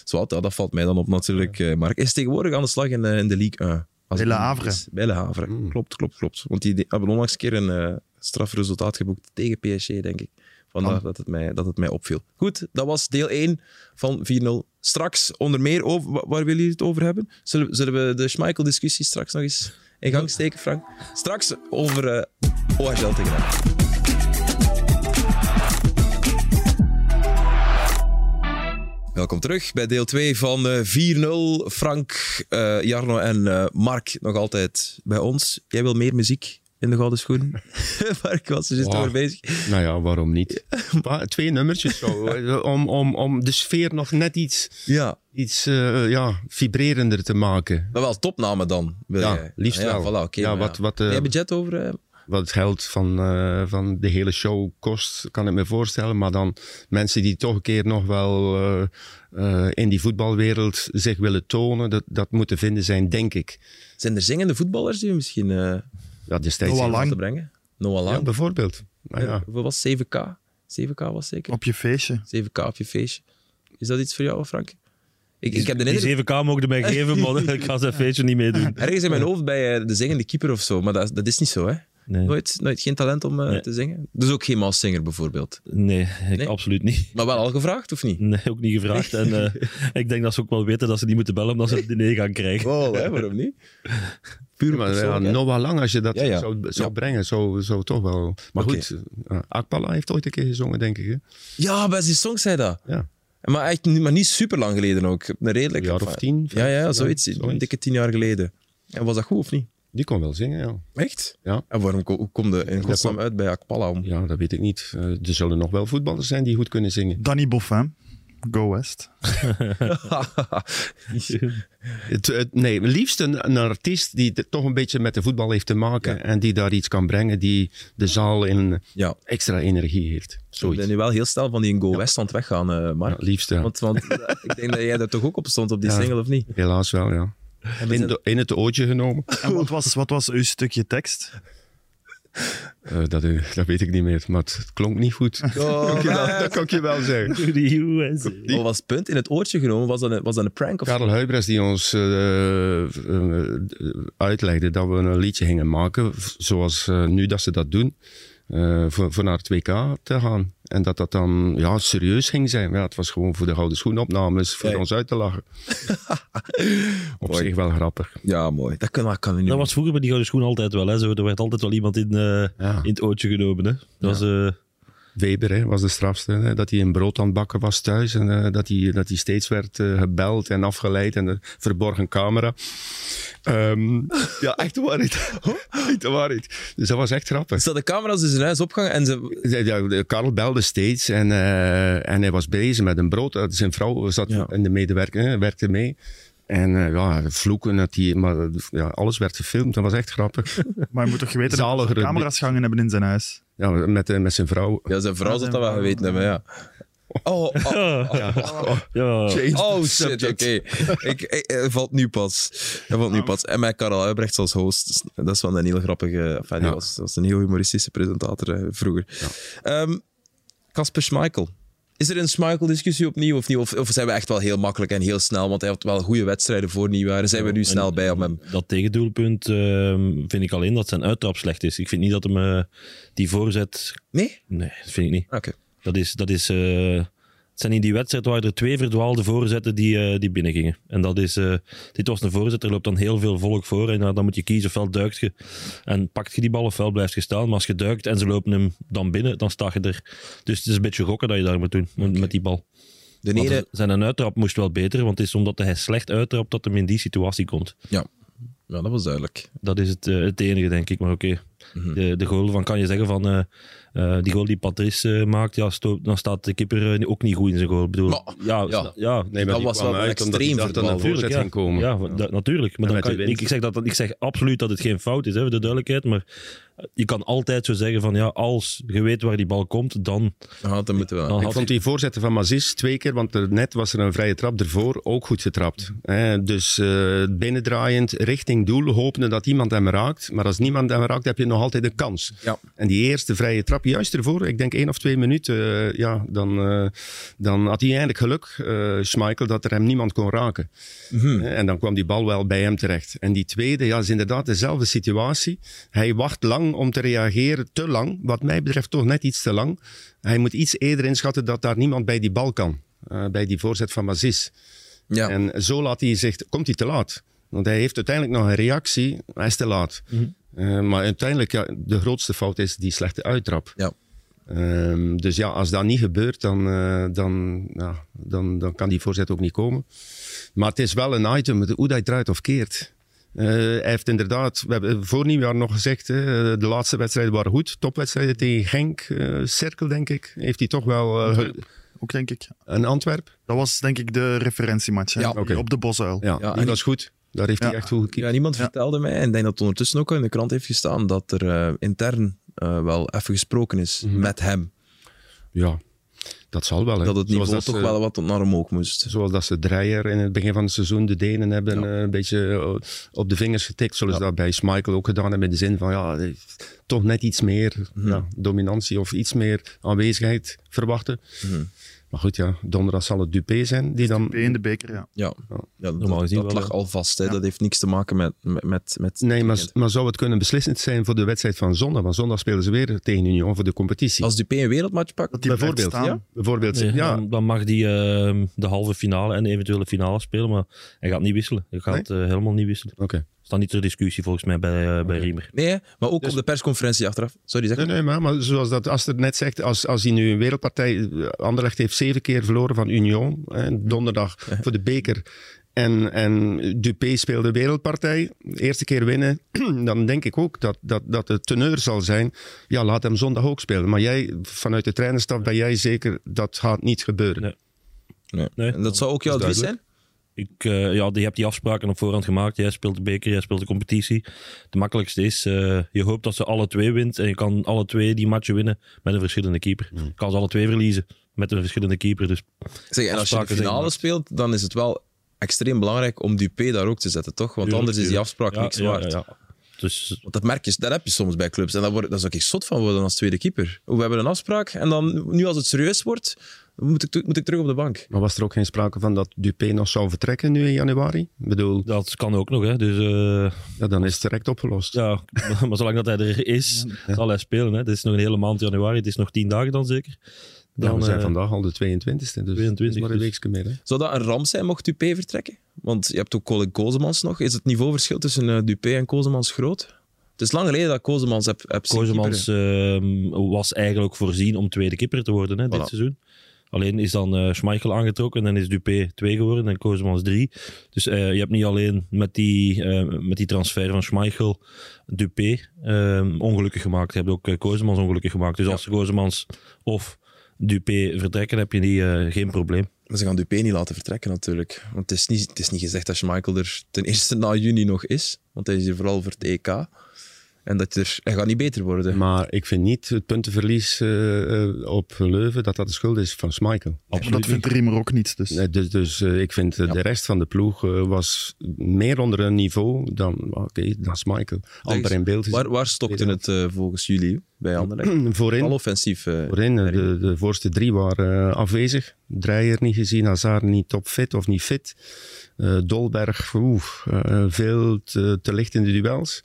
A: Zwart, ja, dat valt mij dan op natuurlijk, eh, Mark. Is tegenwoordig aan de slag in, eh, in de League 1. Als
C: Bij
A: het
C: Le
A: niet
C: Havre. Hmm.
A: is. Bij Le Havre, klopt, klopt, klopt. Want die die hebben onlangs een keer een eh, strafresultaat geboekt tegen PSG, denk ik. Vandaar
C: Kan.
A: dat, het mij, dat het mij opviel. Goed, dat was deel 1 van 4-0. Straks onder meer, over, wa- waar willen jullie het over hebben? Zullen, we- zullen we de Schmeichel-discussie straks nog eens in gang steken, Frank? Straks over eh OHL tegen Ajax. Welkom terug bij deel 2 van eh, 4-0. Frank, eh, Jarno en eh, Mark nog altijd bij ons. Jij wil meer muziek in de Gouden Schoen? Mark was er juist
D: Wow.
A: over bezig.
D: Nou ja, waarom niet? Pa- Twee nummertjes zo, eh, om, om, om de sfeer nog net iets,
A: Ja,
D: iets eh, ja, vibrerender te maken.
A: maar wel topnamen dan. Wil
D: Ja,
A: jij.
D: liefst
A: ja,
D: wel.
A: Voilà, oké,
D: Ja,
A: maar
D: wat- wat, eh,
A: Heb je budget over? eh?
D: Wat het geld van, eh, van de hele show kost, kan ik me voorstellen. Maar dan mensen die toch een keer nog wel eh, eh, in die voetbalwereld zich willen tonen, dat, dat moet te vinden zijn, denk ik.
A: Zijn er zingende voetballers die we misschien eh
D: Ja, destijds
C: Noah Lang.
A: te brengen? Noah
D: Ja,
A: Lang. Eh,
D: bijvoorbeeld. Nou ja.
A: Hoeveel was het? 7K? 7K was zeker?
C: Op je feestje.
A: 7K op je feestje. Is dat iets voor jou, Frank? Ik, ik heb de
B: Die
A: indruk
B: 7K mogen mij geven, man. Ik ga zijn feestje niet meedoen.
A: Ergens in mijn hoofd bij eh, de zingende keeper of zo, maar dat, dat is niet zo, hè?
B: Nee,
A: Nooit, nooit geen talent om eh,
B: Nee.
A: te zingen. Dus ook geen maaszinger bijvoorbeeld.
B: nee, ik
A: Nee?
B: absoluut niet.
A: Maar wel al gevraagd, of niet?
B: Nee, ook niet gevraagd. En eh, ik denk dat ze ook wel weten dat ze niet moeten bellen omdat ze het diner gaan krijgen.
A: Wow, hè, waarom niet? Puur
D: Maar ja, Noah Lang, als je dat
A: Ja, ja.
D: zou, zou
A: Ja.
D: brengen, zou, zou toch wel. Maar
A: Oké.
D: goed, eh, Akpala heeft ooit een keer gezongen, denk ik. Hè?
A: Ja, bij zijn song zei dat.
D: Ja.
A: Maar, echt, niet- maar niet super lang geleden ook. Een redelijk.
D: Een jaar of tien,
A: Ja, ja,
D: vijf,
A: zoiets.
D: ja,
A: Een
D: zoiets.
A: dikke tien jaar geleden. En was dat goed of niet?
D: Die kon wel zingen, ja.
A: Echt?
D: Ja.
A: En waarom ko- hoe kom je in
D: dat
A: godsnaam
D: kwam-
A: uit bij Akpala om?
D: Ja, dat weet ik niet. Eh, er zullen nog wel voetballers zijn die goed kunnen zingen.
C: Danny Boffin. Go West.
D: Het, het- nee, liefst een, een artiest die de- toch een beetje met de voetbal heeft te maken. En die daar iets kan brengen die de zaal in
A: ja.
D: extra energie heeft.
A: Ik ben
D: Zoiets.
A: nu wel heel snel van die in Go West aan het weggaan, eh,
D: Ja,
A: Mark.
D: liefst, ja.
A: Want, want eh, ik denk dat jij daar toch ook op stond op die
D: Ja.
A: single, of niet?
D: Helaas wel, ja. In, de- in het ootje genomen.
C: En wat was, wat was uw stukje tekst?
D: Eh, dat, eh, dat weet ik niet meer, maar het, het klonk niet goed.
A: Oh,
D: Dat, dat kan ik je wel zeggen.
B: De USA.
A: Wat was het punt? In het oortje genomen? Was dat een, was dat een prank? Of...
D: Karel Huibres die ons eh, eh, uitlegde dat we een liedje gingen maken, v- zoals eh, nu dat ze dat doen, eh, voor, voor naar het WK te gaan. En dat dat dan ja, serieus ging zijn. Ja, het was gewoon voor de gouden schoenopnames, voor
A: Ja.
D: ons uit te lachen. Op
A: Mooi.
D: zich wel grappig.
A: Ja, mooi. Dat kan, dat kan nu.
B: Dat
A: niet.
B: was vroeger bij die gouden schoen altijd wel. Hè? Zo, er werd altijd wel iemand in, eh,
D: Ja.
B: in het ootje genomen. Hè? Dat was, eh,
D: Weber hè, was de strafste, hè, dat hij een brood aan het bakken was thuis en eh, dat, hij, dat hij steeds werd eh, gebeld en afgeleid en de verborgen camera. Ehm, ja, echt waarheid. echt waarheid. Dus dat was echt grappig.
A: Dus dat de camera's dus in huis opgangen en ze...
D: Ja, de- Karel belde steeds en, eh, en hij was bezig met een brood. Eh, Zijn vrouw zat
A: Ja.
D: in de medewerking, eh, werkte mee. En eh, ja, vloeken, dat die, maar eh, ja, alles werd gefilmd. Dat was echt grappig.
C: Maar je moet toch geweten dat
D: Zaligere
C: er camera's gangen hebben in zijn huis.
D: Ja, met, eh, met zijn vrouw.
A: Ja, zijn vrouw zat dat wel geweten hebben, ja. Oh, oh,
B: ja.
A: oh shit, oké. Ik, ik- Hij valt nu pas. Hij valt nu pas. En met Karel Huibrechts als host. Dus dat is wel een heel grappige... Enfin, die
D: Ja.
A: was, was een heel humoristische presentator eh, vroeger. Ehm, Casper Schmeichel. Is er een Schmeichel-discussie opnieuw of niet? Of, of zijn we echt wel heel makkelijk en heel snel? Want hij had wel goede wedstrijden voor nieuwjaar. Zijn we nu
B: En
A: snel bij om hem?
B: Dat tegendoelpunt ehm, vind ik alleen dat zijn uittrap slecht is. Ik vind niet dat hem eh, die voorzet...
A: Nee?
B: Nee, dat vind ik niet.
A: Oké.
B: Dat is... Dat is eh, het zijn in die wedstrijd waar er twee verdwaalde voorzetten die, eh, die binnengingen. En dat is... eh, dit was een voorzet, er loopt dan heel veel volk voor. En ja, dan moet je kiezen, ofwel duikt je en pakt je die bal, ofwel blijft je staan. Maar als je duikt en ze lopen hem dan binnen, dan sta je er. Dus het is een beetje gokken dat je daar moet doen, met- met die bal.
A: De
B: Want
A: ene...
B: Zijn een uittrap moest wel beter, want het is omdat hij slecht uittrapt dat hem in die situatie komt.
A: Ja. ja, dat was duidelijk.
B: Dat is het, eh, het enige, denk ik. Maar oké,
D: Mhm.
B: de, de goal van kan je zeggen van eh, eh, die goal die Patrice eh, maakt, ja, sto- dan staat de kipper eh, ook niet goed in zijn goal. Ik bedoel,
A: Maar-
B: ja,
A: ja.
B: ja.
D: Nee,
A: Dat
D: die
A: was
D: kwam
A: wel
D: uit omdat
A: extreem
D: hij dacht dat er een
A: verdwaald.
D: voorzet
B: ja.
D: ging komen.
B: Ja, da- natuurlijk. Maar dan
D: met
B: kan
D: de
B: je-
D: wind.
B: ik, zeg dat, dat- ik zeg absoluut dat het geen fout is, hè, voor de duidelijkheid. Maar je kan altijd zo zeggen van ja, als je weet waar die bal komt, dan,
A: Ja, dat moeten we wel.
B: dan
D: Ik vond die voorzetten van Mazis twee keer, want er net was er een vrije trap ervoor, ook goed getrapt. Hè, dus eh, binnendraaiend richting doel, hopende dat iemand hem raakt. Maar als niemand hem raakt, heb je nog altijd een kans.
A: Ja.
D: En die eerste vrije trap, juist ervoor, ik denk één of twee minuten, eh, ja, dan, eh, dan had hij eindelijk geluk, eh Schmeichel, dat er hem niemand kon raken. Eh, En dan kwam die bal wel bij hem terecht. En die tweede, ja, is inderdaad dezelfde situatie. Hij wacht lang om te reageren, te lang. Wat mij betreft toch net iets te lang. Hij moet iets eerder inschatten dat daar niemand bij die bal kan. eh, bij die voorzet van Mazis.
A: Ja.
D: En zo laat hij zich, komt hij te laat. Want hij heeft uiteindelijk nog een reactie, hij is te laat. Eh, maar uiteindelijk, ja, de grootste fout is die slechte uittrap.
A: ja.
D: Ehm, dus ja, als dat niet gebeurt, dan, eh, dan, ja, dan, dan kan die voorzet ook niet komen. Maar het is wel een item, hoe dat je draait of keert. Eh, hij heeft inderdaad, we hebben voor nieuwjaar nog gezegd, eh, de laatste wedstrijden waren goed. Topwedstrijden tegen Genk, eh, Cirkel denk ik, heeft hij toch wel eh, ge-
C: Ook denk ik.
D: een Antwerp.
C: Dat was denk ik de referentiematch. hè?
A: Ja,
D: oké.
C: Op de Bosuil.
D: Ja,
A: Ja,
D: die
A: en-
D: was goed. Daar heeft hij
C: Ja.
D: echt goed gekeken.
A: Ja, niemand vertelde mij, en ik denk dat het ondertussen ook al in de krant heeft gestaan, dat er eh, intern eh, wel even gesproken is met hem.
D: Ja, dat zal wel. Hè.
A: Dat het
D: Zoals
A: niveau toch
D: ze-
A: wel wat naar omhoog moest.
D: Zoals dat ze Dreyer in het begin van het seizoen, de Denen hebben eh, een beetje eh, op de vingers getikt. Zullen ze dat bij Schmeichel ook gedaan hebben in de zin van ja, eh, toch net iets meer
A: Mhm.
D: ja, dominantie of iets meer aanwezigheid verwachten.
A: Mhm.
D: Maar goed, ja, donderdag zal het Dupé zijn die dan...
C: B in de beker, ja.
A: Ja, ja
B: Normaal
A: dat,
B: gezien
A: dat
B: wel,
A: lag
B: hè.
A: al vast. Hè. Dat heeft niks te maken met... met, met, met
D: Nee, maar, maar zou het kunnen beslissend zijn voor de wedstrijd van zondag? Want zondag spelen ze weer tegen Union voor de competitie.
A: Als Dupé een wereldmatch pakt...
C: Dat die blijft
D: Bijvoorbeeld,
C: staan.
D: ja. Bijvoorbeeld,
B: Nee,
D: ja,
B: dan, dan mag hij de halve finale en de eventuele finale spelen, maar hij gaat niet wisselen. Hij gaat eh, helemaal niet wisselen.
D: oké.
B: staat niet ter discussie volgens mij bij, eh, bij Riemer.
A: Nee, hè, maar ook op de persconferentie achteraf. Sorry, zeg
D: Nee, nee, maar, maar zoals dat Aster net zegt, als, als hij nu een wereldpartij... eh, Anderlecht heeft zeven keer verloren van Union, hè, donderdag voor de beker. En, en Dupé speelde wereldpartij, eerste keer winnen. Dan denk ik ook dat, dat, dat de teneur zal zijn, ja, laat hem zondag ook spelen. Maar jij, vanuit de trainerstaf, ben jij zeker, dat gaat niet gebeuren.
B: Nee.
A: Nee.
B: Nee.
A: En dat zou ook jouw
D: Dat is
A: advies zijn?
B: Ik, eh, ja, je hebt die afspraken op voorhand gemaakt. Jij speelt de beker, jij speelt de competitie. Het makkelijkste is, eh, je hoopt dat ze alle twee wint. En je kan alle twee die matchen winnen met een verschillende keeper.
A: Hmm.
B: Je kan ze alle twee verliezen met een verschillende keeper. Dus
A: Zeg, en als je de
B: Afspraken zijn
A: finale
B: gemaakt.
A: speelt, dan is het wel extreem belangrijk om Dupé daar ook te zetten, toch? Want
B: Tuurlijk,
A: anders is die
B: tuurlijk.
A: afspraak
B: Ja,
A: niks
B: ja,
A: waard.
B: ja, ja. Dus
A: Want dat merk je, dat heb je soms bij clubs. En daar word- daar zou ik zot van worden als tweede keeper. We hebben een afspraak en dan, nu als het serieus wordt, moet ik, moet ik terug op de bank.
D: Maar was er ook geen sprake van dat Dupé nog zou vertrekken nu in januari? Ik bedoel,
B: dat kan ook nog, hè. Dus eh,
D: ja, dan is het direct opgelost.
B: ja, maar zolang dat hij er is, zal hij spelen, hè. Het is nog een hele maand januari. Het is nog tien dagen dan zeker.
D: Ja, we zijn
B: eh,
D: vandaag al de 22e, dus
B: 22e,
D: het is maar
B: dus-
D: een weekje meer. Hè?
A: Zou dat een ramp zijn mocht Dupé vertrekken? Want je hebt ook Colin Kozemans nog. Is het niveauverschil tussen eh, Dupé en Kozemans groot? Het is lang geleden dat Kozemans heb, heb zien
B: Kozemans
A: keeperen.
B: ehm, was eigenlijk voorzien om tweede kipper te worden hè, dit
A: Voilà.
B: seizoen. Alleen is dan eh Schmeichel aangetrokken en is Dupé 2 geworden en Kozemans 3. Dus eh, je hebt niet alleen met die, eh, met die transfer van Schmeichel Dupé ehm, ongelukkig gemaakt. Je hebt ook eh, Kozemans ongelukkig gemaakt. Dus als Kozemans of Dupé vertrekken, heb je die, eh, geen probleem.
A: Maar ze gaan Dupé niet laten vertrekken natuurlijk. Want het is niet, het is niet gezegd dat Schmeichel er ten eerste na juni nog is. Want hij is hier vooral voor het EK. En dat je er, hij gaat niet beter worden.
D: Maar ik vind niet het puntenverlies eh, eh, op Leuven dat dat de schuld is van Schmeichel.
C: Maar dat vindt Riemer ook niet. Dus.
D: Nee, dus dus eh, ik vind eh, de rest van de ploeg eh, was meer onder een niveau dan, oké, dan Schmeichel. Amper in beeld. is. Hmm,
A: Waar, waar stokte het eh, volgens jullie bij Anderlecht?
D: Voorin,
A: Al offensief. eh,
D: voorin eh, de, de voorste drie waren eh, afwezig. Dreyer niet gezien, Hazard niet topfit of niet fit. Eh, Dolberg, oeh, eh, veel te, te licht in de duels.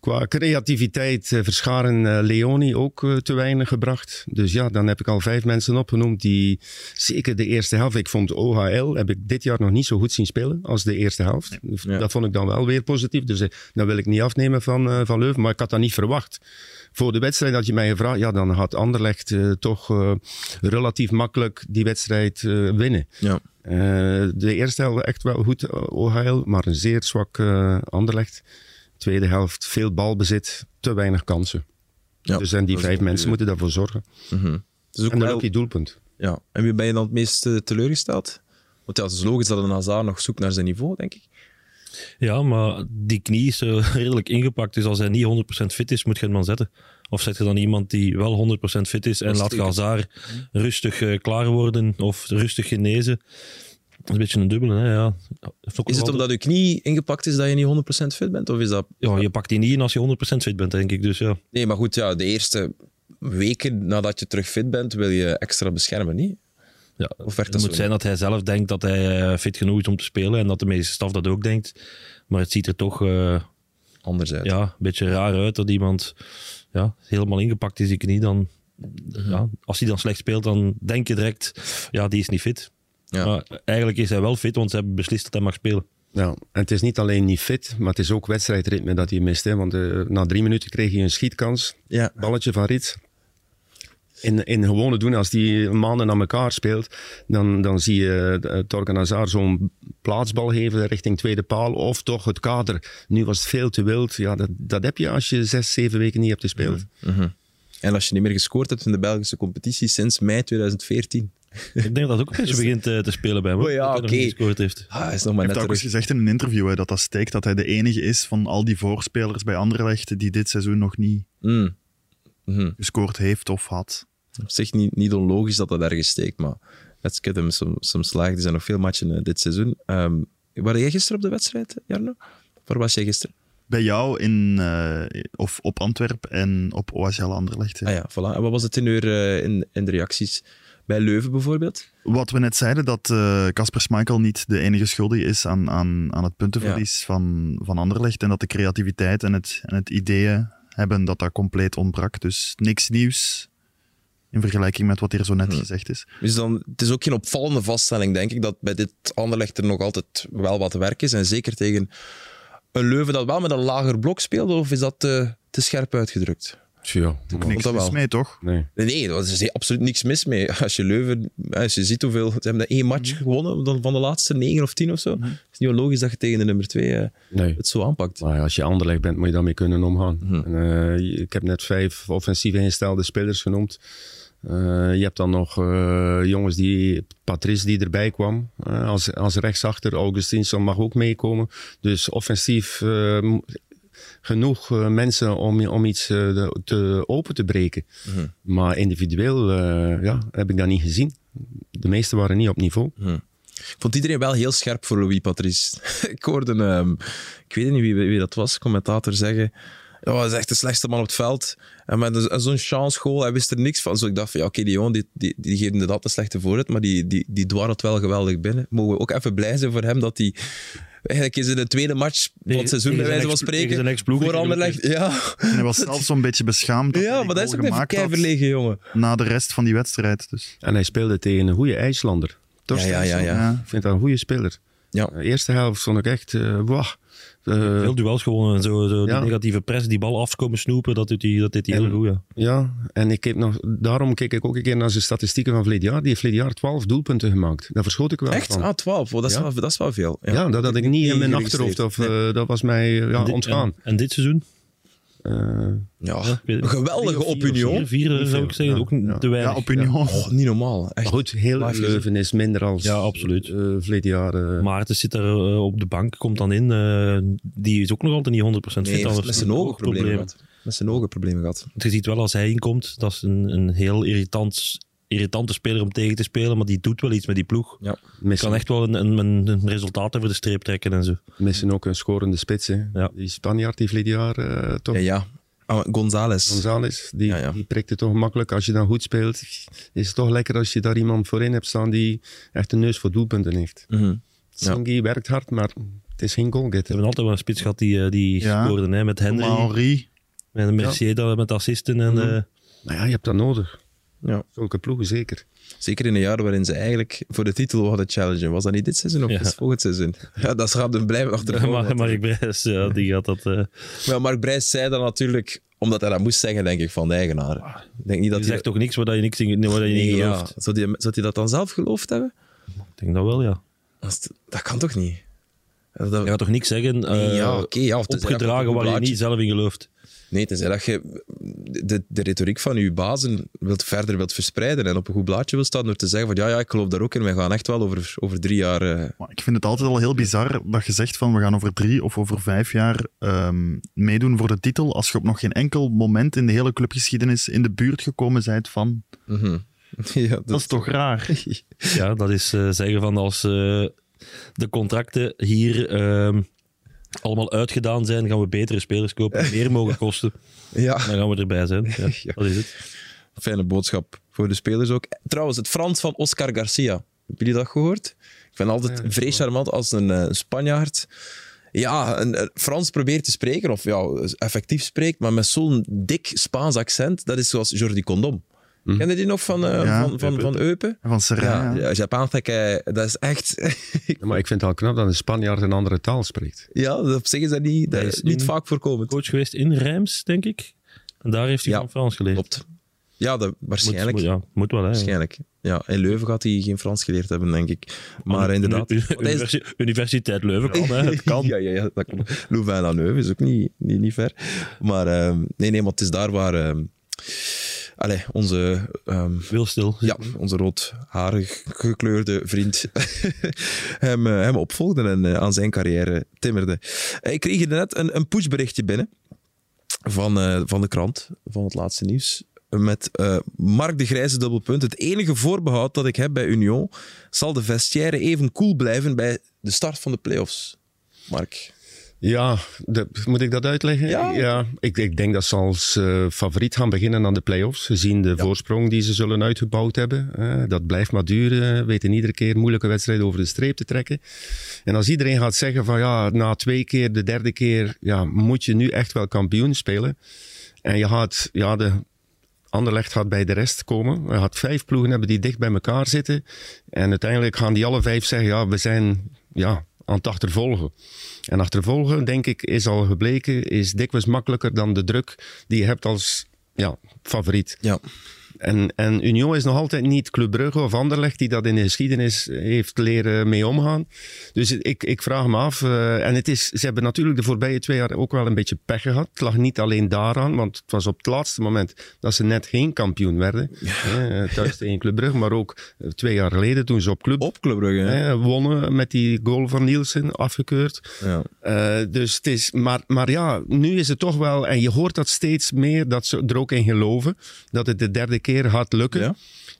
D: Qua creativiteit eh, verscharen eh, Leoni ook eh, te weinig gebracht. Dus ja, dan heb ik al vijf mensen opgenoemd die zeker de eerste helft. Ik vond OHL heb ik dit jaar nog niet zo goed zien spelen als de eerste helft.
A: Ja.
D: Dat vond ik dan wel weer positief. Dus eh, dat wil ik niet afnemen van, eh, van Leuven. Maar ik had dat niet verwacht. Voor de wedstrijd had je mij gevraagd, ja, dan had Anderlecht eh, toch eh, relatief makkelijk die wedstrijd eh, winnen.
A: ja.
D: Eh, de eerste helft echt wel goed, eh, OHL, maar een zeer zwak eh Anderlecht. Tweede helft, veel balbezit, te weinig kansen.
A: Ja,
B: eh,
D: dus en die
A: dat is
D: vijf
A: natuurlijk-
D: mensen moeten daarvoor zorgen.
A: Het is ook
D: En dan
A: wel-
D: ook die doelpunt.
A: Ja, en wie ben je dan het meest eh, teleurgesteld? Want ja, het is logisch dat een Hazard nog zoekt naar zijn niveau, denk ik.
B: Ja, maar die knie is eh, redelijk ingepakt. Dus als hij niet 100% fit is, moet je hem dan zetten. Of zet je dan iemand die wel 100% fit is en laat
A: zeker.
B: Gazaar
A: Mhm.
B: rustig eh, klaar worden of rustig genezen. Dat is een beetje een dubbele, hè? Ja. Heeft ook
A: Is het
B: wel-
A: omdat je knie ingepakt is dat je niet 100% fit bent? Of is dat...
B: Ja, je pakt die niet in als je 100% fit bent, denk ik. Dus ja.
A: Nee, maar goed, ja, de eerste weken nadat je terug fit bent, wil je extra beschermen, niet?
B: ja
A: Of werkt dat
B: het
A: zo
B: moet
A: niet?
B: zijn dat hij zelf denkt dat hij eh, fit genoeg is om te spelen en dat de medische staf dat ook denkt. Maar het ziet er toch eh,
A: Anders uit.
B: ja, een beetje raar uit dat iemand ja, helemaal ingepakt is, die knie. Dan, ja, als hij dan slecht speelt, dan denk je direct, ja, die is niet fit.
A: Ja.
B: Maar eigenlijk is hij wel fit, want ze hebben beslist dat hij mag spelen.
D: Ja, en het is niet alleen niet fit, maar het is ook wedstrijdritme dat hij mist. Hè? Want eh, na drie minuten kreeg hij een schietkans.
A: Ja.
D: Balletje van Rits. In, in gewone doen, als die maanden aan elkaar speelt, dan, dan zie je eh, Torgan Hazard zo'n plaatsbal geven richting tweede paal. Of toch het kader. Nu was het veel te wild. Ja, dat, dat heb je als je zes, zeven weken niet hebt gespeeld.
A: En als je niet meer gescoord hebt in de Belgische competitie sinds mei 2014.
B: Ik denk dat dat ook een beetje begint eh, te spelen bij hem. hoor,
A: Oh ja,
B: dat hij nog
A: oké.
B: niet gescoord heeft.
A: Ah, hij is nog maar
C: Hij
A: net
C: heeft ook eens
A: terug.
C: gezegd in een interview hè, dat dat steekt, dat hij de enige is van al die voorspelers bij Anderlecht die dit seizoen nog niet
A: Mm.
C: gescoord heeft of had.
A: Op zich niet, niet onlogisch dat dat ergens steekt, maar let's get him some, some slaag. Er zijn nog veel matchen eh, dit seizoen. Ehm waren jij gisteren op de wedstrijd, eh, Jarno? Waar was jij gisteren?
C: Bij jou in, eh, of op Antwerpen en op OSL Anderlecht. hè.
A: Ah ja, voilà. En wat was het in, uw, eh, in, in de reacties bij Leuven bijvoorbeeld?
C: Wat we net zeiden, dat eh, Casper Schmeichel niet de enige schuldige is aan, aan, aan het puntenverlies van, van Anderlecht. En dat de creativiteit en het, en het ideeën hebben, dat daar compleet ontbrak. Dus niks nieuws in vergelijking met wat hier zo net gezegd is.
A: Dus dan, het is ook geen opvallende vaststelling, denk ik, dat bij dit Anderlecht er nog altijd wel wat werk is. En zeker tegen een Leuven dat wel met een lager blok speelde, of is dat te, te scherp uitgedrukt?
D: Tja, maar-
C: Niks
A: dat wel.
C: mis mee, toch?
D: nee.
A: Nee, Nee, daar is absoluut niks mis mee. Als je Leuven, als je ziet hoeveel... Ze hebben dat één match gewonnen dan van de laatste negen of tien of zo. Het is niet onlogisch dat je tegen de nummer twee eh,
D: Nee.
A: het zo aanpakt.
D: Maar ja, als je anderleg bent, moet je daarmee kunnen omgaan.
A: Mhm.
D: En, eh, ik heb net vijf offensief ingestelde spelers genoemd. Eh, je hebt dan nog eh, jongens die, Patrice die erbij kwam eh, als, als rechtsachter. Augustinsson mag ook meekomen. Dus offensief eh, mo- genoeg eh, mensen om, om iets eh, de- te, open te breken.
A: Mhm. Mhm.
D: Maar individueel eh, ja, heb ik dat niet gezien. De meesten waren niet op niveau.
A: Ik vond iedereen wel heel scherp voor Louis Patrice. ik hoorde, ehm, ik weet niet wie, wie dat was, commentator zeggen. Ja, hij is echt de slechtste man op het veld. En met een- zo'n chance goal, hij wist er niks van. Dus ik dacht van, ja, oké, die jongen, die, die, die geeft inderdaad een slechte voorzet, maar die, die, die dwarrelt wel geweldig binnen. Mogen we ook even blij zijn voor hem dat hij... Eigenlijk is in de tweede match van het
B: Tegen-
A: seizoen, bij
B: tegen
A: wijze
B: zijn
A: van
B: ex- tegen zijn
A: spreken,
B: ex-ploeg
A: voor
B: die
A: Anderlecht. Ja,
C: En hij was zelf zo'n beetje beschaamd. hij
A: ja
C: die
A: maar dat is
C: goal
A: ook even
C: gemaakt had
A: keiverlegen, jongen.
C: Na de rest van die wedstrijd. Dus.
D: En hij speelde tegen een goede IJslander.
A: Ja, ja, ja. ja.
C: Ja.
D: Ik vind dat een goede speler.
A: Ja.
D: De Eh, eerste helft vond ik echt, eh wauw. Eh,
B: Veel duels gewonnen en zo. zo
D: Ja.
B: Die negatieve press, die bal afkomen snoepen, dat doet hij dat deed hij
D: En-
B: heel goed. Ja.
D: ja, en ik keek nog, daarom keek ik ook een keer naar zijn statistieken van vorig jaar. Die heeft vorig jaar 12 doelpunten gemaakt. Daar verschoot ik wel
A: Echt?
D: van.
A: Ah, 12. Oh, dat, is
D: Ja.
A: wel, dat is wel veel.
D: Ja, dat had ik niet in mijn achterhoofd.
A: geregistreerd.
D: Of, eh, dat was mij eh, ja,
B: En dit-
D: ontgaan.
B: En, en dit seizoen?
D: Eh,
A: Ja,
B: weet
A: een
B: ik-
A: geweldige
B: Drie of vier of
A: opinion.
B: Vier, vier zou ik zeggen.
D: Ja.
B: Ook n-
D: Ja.
B: te
C: Ja,
B: weinig.
C: opinion.
A: Oh, niet normaal. Echt.
D: maar goed, heel
A: Live
D: Leuven is minder als
B: Ja, absoluut.
D: eh, vorig jaar. eh,
B: Maarten zit daar eh, op de bank, komt dan in. eh, die is ook nog altijd niet 100% fit.
A: Nee, hij heeft
B: anders
A: met zijn ogen
B: oogproblemen.
A: problemen gehad. Met zijn ogen problemen gehad.
B: Want je ziet wel als hij inkomt, dat is een, een heel irritant, irritante speler om tegen te spelen. Maar die doet wel iets met die ploeg.
A: Ja.
B: Die kan
D: missen,
B: echt wel een, een, een- een resultaat over de streep trekken en zo.
D: missen ook een scorende spits. Hè.
B: Ja.
D: Die Spanjaard die vorig jaar eh, toch
A: Ja, ja. Ah, González.
D: González, die,
A: Ja, ja.
D: die prikt het toch makkelijk. Als je dan goed speelt, is het toch lekker als je daar iemand voorin hebt staan die echt een neus voor doelpunten heeft.
A: Mhm.
D: Sengi werkt hard, maar het is geen
B: We
D: goalgetter.
B: hebben altijd wel een spits gehad die, eh, die
C: Ja.
B: scoorde hè, met Henry.
C: Maori.
B: Met Mercier dat- met assisten. En, eh,
D: Maar ja, je hebt dat nodig.
A: Ja.
D: Zulke ploegen zeker.
A: Zeker in een jaar waarin ze eigenlijk voor de titel hadden challengen. Was dat niet dit seizoen of
B: Ja.
A: is het volgend seizoen? Ja, dat schaapt hem blij achter de
B: maar,
A: voorwaarden.
B: Mark Brijs, ja, die gaat dat... eh
A: Maar ja, Mark Brijs zei dat natuurlijk omdat hij dat moest zeggen, denk ik, van de eigenaar. Ik denk niet dat
B: die
A: hij...
B: zegt toch niks waar dat Ah, je, niks in, waar dat je niet
A: Nee, ja.
B: gelooft.
A: Zou, die, zou die dat dan zelf geloofd hebben?
B: Ik denk dat wel, ja.
A: Dat, is- dat kan toch niet? Dat,
B: Je gaat toch niks zeggen eh,
A: ja, oké. ja, of tenzij dat
B: opgedragen
A: een
B: waar je
A: blaadje-
B: niet zelf in gelooft.
A: Nee, tenzij dat je de, de retoriek van je bazen wilt, verder wilt verspreiden en op een goed blaadje wilt staan door te zeggen van ja, ja ik geloof daar ook in, wij gaan echt wel over, over drie jaar... eh,
C: Maar ik vind het altijd al heel bizar dat je zegt van we gaan over drie of over vijf jaar ehm, meedoen voor de titel als je op nog geen enkel moment in de hele clubgeschiedenis in de buurt gekomen bent van...
A: mhm. ja, dat,
C: Dat is toch raar?
B: Ja, dat is eh, zeggen van als eh, de contracten hier ehm, allemaal uitgedaan zijn, gaan we betere spelers kopen, meer mogen kosten.
A: ja,
B: Dan gaan we erbij zijn. Ja,
A: Ja.
B: Dat is het.
A: fijne boodschap voor de spelers ook. Trouwens, het Frans van Oscar Garcia. Hebben jullie dat gehoord? Ik vind het altijd vrees charmant als een eh, Spanjaard ja, een, een Frans probeert te spreken, of ja, effectief spreekt, maar met zo'n dik Spaans accent, dat is zoals Jordi Condom. Ken je die nog van, eh,
C: Ja,
A: van, van, van Eupen?
C: Van Serra.
A: Ja,
C: ja.
A: ja. Japan Tekken, dat is echt...
D: Ja, maar ik vind het al knap dat een Spanjaard een andere taal spreekt.
A: ja, op zich is dat niet, dat
B: Hij
A: is
B: is
A: niet
B: in-
A: vaak voorkomend.
B: Coach geweest in Reims, denk ik. En daar heeft hij
A: Ja,
B: van Frans geleerd.
A: Klopt. Ja, dat,
B: Moet-
A: waarschijnlijk.
B: Moet, ja, moet wel, hè.
A: Waarschijnlijk. Ja, in Leuven gaat hij geen Frans geleerd hebben, denk ik. Maar
B: Uni-
A: inderdaad...
B: uni-
A: Want hij is-
B: universi- Universiteit Leuven kan, hè. Het kan.
A: Ja, ja, ja, dat klopt. Louvain aan Leuven is ook niet, niet, niet ver. Maar ehm, nee, nee, maar het is daar waar ehm, allee, onze, ehm,
B: Wil stil.
A: ja, onze roodharig gekleurde vriend hem, eh, hem opvolgde en eh, aan zijn carrière timmerde. Eh, Ik kreeg hier net een, een pushberichtje binnen van, eh, van de krant, van het laatste nieuws. Met eh, Mark de Grijze dubbelpunt. Het enige voorbehoud dat ik heb bij Union, zal de vestiaire even cool blijven bij de start van de playoffs. Mark.
D: Ja, de- moet ik dat uitleggen?
A: Ja.
D: ik, ik denk dat ze als eh, favoriet gaan beginnen aan de play-offs. Gezien de voorsprong die ze zullen uitgebouwd hebben. Eh, dat blijft maar duren. Weten iedere keer moeilijke wedstrijden over de streep te trekken. En als iedereen gaat zeggen van ja, na twee keer, de derde keer, ja, moet je nu echt wel kampioen spelen. En je gaat, ja, de Anderlecht gaat bij de rest komen. Je gaat vijf ploegen hebben die dicht bij elkaar zitten. En uiteindelijk gaan die alle vijf zeggen, ja, we zijn ja, aan het achtervolgen. En achtervolgen, denk ik, is al gebleken, is dikwijls makkelijker dan de druk die je hebt als ja, favoriet.
A: Ja.
D: En, en Union is nog altijd niet Club Brugge of Anderlecht die dat in de geschiedenis heeft leren mee omgaan. Dus ik, ik vraag me af. eh, en het is, ze hebben natuurlijk de voorbije twee jaar ook wel een beetje pech gehad. Het lag niet alleen daaraan, want het was op het laatste moment dat ze net geen kampioen werden. Hè, thuis tegen Club Brugge, maar ook eh, twee jaar geleden toen ze op Club
A: Op Club Brugge, hè?
D: hè, wonnen met die goal van Nielsen, afgekeurd.
A: Ja.
D: Eh, dus het is, maar, maar ja, nu is het toch wel, en je hoort dat steeds meer, dat ze er ook in geloven, dat het de derde keer gaat lukken.
A: Ja.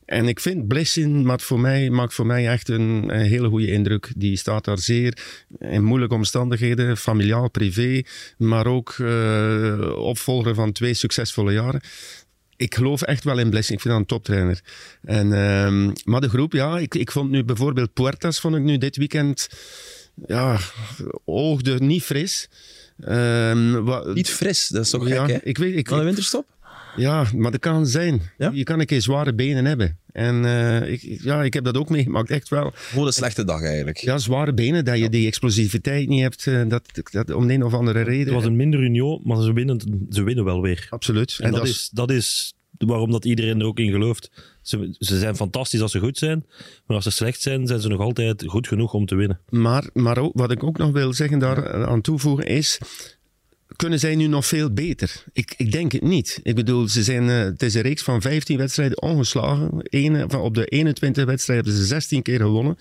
D: En ik vind Blessing maakt voor mij, maakt voor mij echt een, een hele goede indruk. Die staat daar zeer in moeilijke omstandigheden, familiaal, privé, maar ook eh, opvolger van twee succesvolle jaren. Ik geloof echt wel in Blessing. Ik vind dat een toptrainer. En, ehm, maar de groep, ja, ik, ik vond nu bijvoorbeeld Puertas, vond ik nu dit weekend, ja, oogde niet fris. Ehm, wa-
A: Niet fris, dat is toch
D: ja,
A: gek, hè?
D: ik weet, ik,
A: Van de winterstop?
D: ja, maar dat kan zijn.
A: Ja?
D: Je kan een keer zware benen hebben. En eh, ik, ik- ja, ik heb dat ook meegemaakt, echt wel.
A: Gewoon een slechte dag, eigenlijk.
D: Ja, zware benen, dat je die explosiviteit niet hebt, eh, dat, dat om de een of andere
B: Het
D: reden.
B: was een minder union, maar ze winnen, ze winnen wel weer.
D: Absoluut.
B: En, dat, is, dat is waarom dat iedereen er ook in gelooft. Ze, ze zijn fantastisch als ze goed zijn, maar als ze slecht zijn, zijn ze nog altijd goed genoeg om te winnen.
D: Maar, maar ook, wat ik ook nog wil zeggen daar eh, aan toevoegen is. Kunnen zij nu nog veel beter? Ik, ik denk het niet. Ik bedoel, ze zijn, eh, het is een reeks van 15 wedstrijden ongeslagen. Ene, van op de 21 wedstrijden hebben ze 16 keer gewonnen.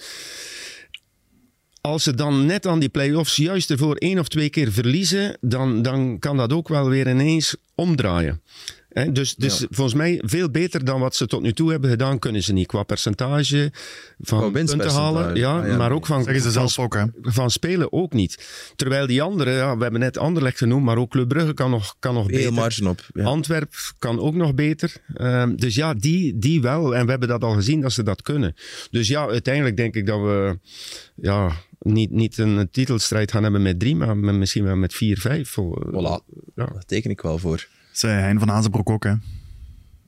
D: Als ze dan net aan die play-offs juist ervoor één of twee keer verliezen, dan, dan kan dat ook wel weer ineens omdraaien. Hè, dus dus volgens mij veel beter dan wat ze tot nu toe hebben gedaan, kunnen ze niet. Qua percentage
A: Qua
D: van punten halen,
A: winstpercentage.
D: ja,
A: Ah, ja,
D: maar
A: nee.
D: ook van,
C: Zeggen ze
D: van
C: zelf ook, hè?
D: van spelen ook niet. Terwijl die anderen, ja, we hebben net Anderlecht genoemd, maar ook Club Brugge kan nog, kan nog
A: Heel
D: beter.
A: margin op. Ja.
D: Antwerp kan ook nog beter. Ehm, dus ja, die, die wel. En we hebben dat al gezien dat ze dat kunnen. Dus ja, uiteindelijk denk ik dat we ja, niet, niet een titelstrijd gaan hebben met drie, maar met- misschien wel met vier, vijf. eh,
A: Voilà.
D: Ja.
A: Daar teken ik wel voor.
C: Zei Hein van Hazenbroek ook, hè?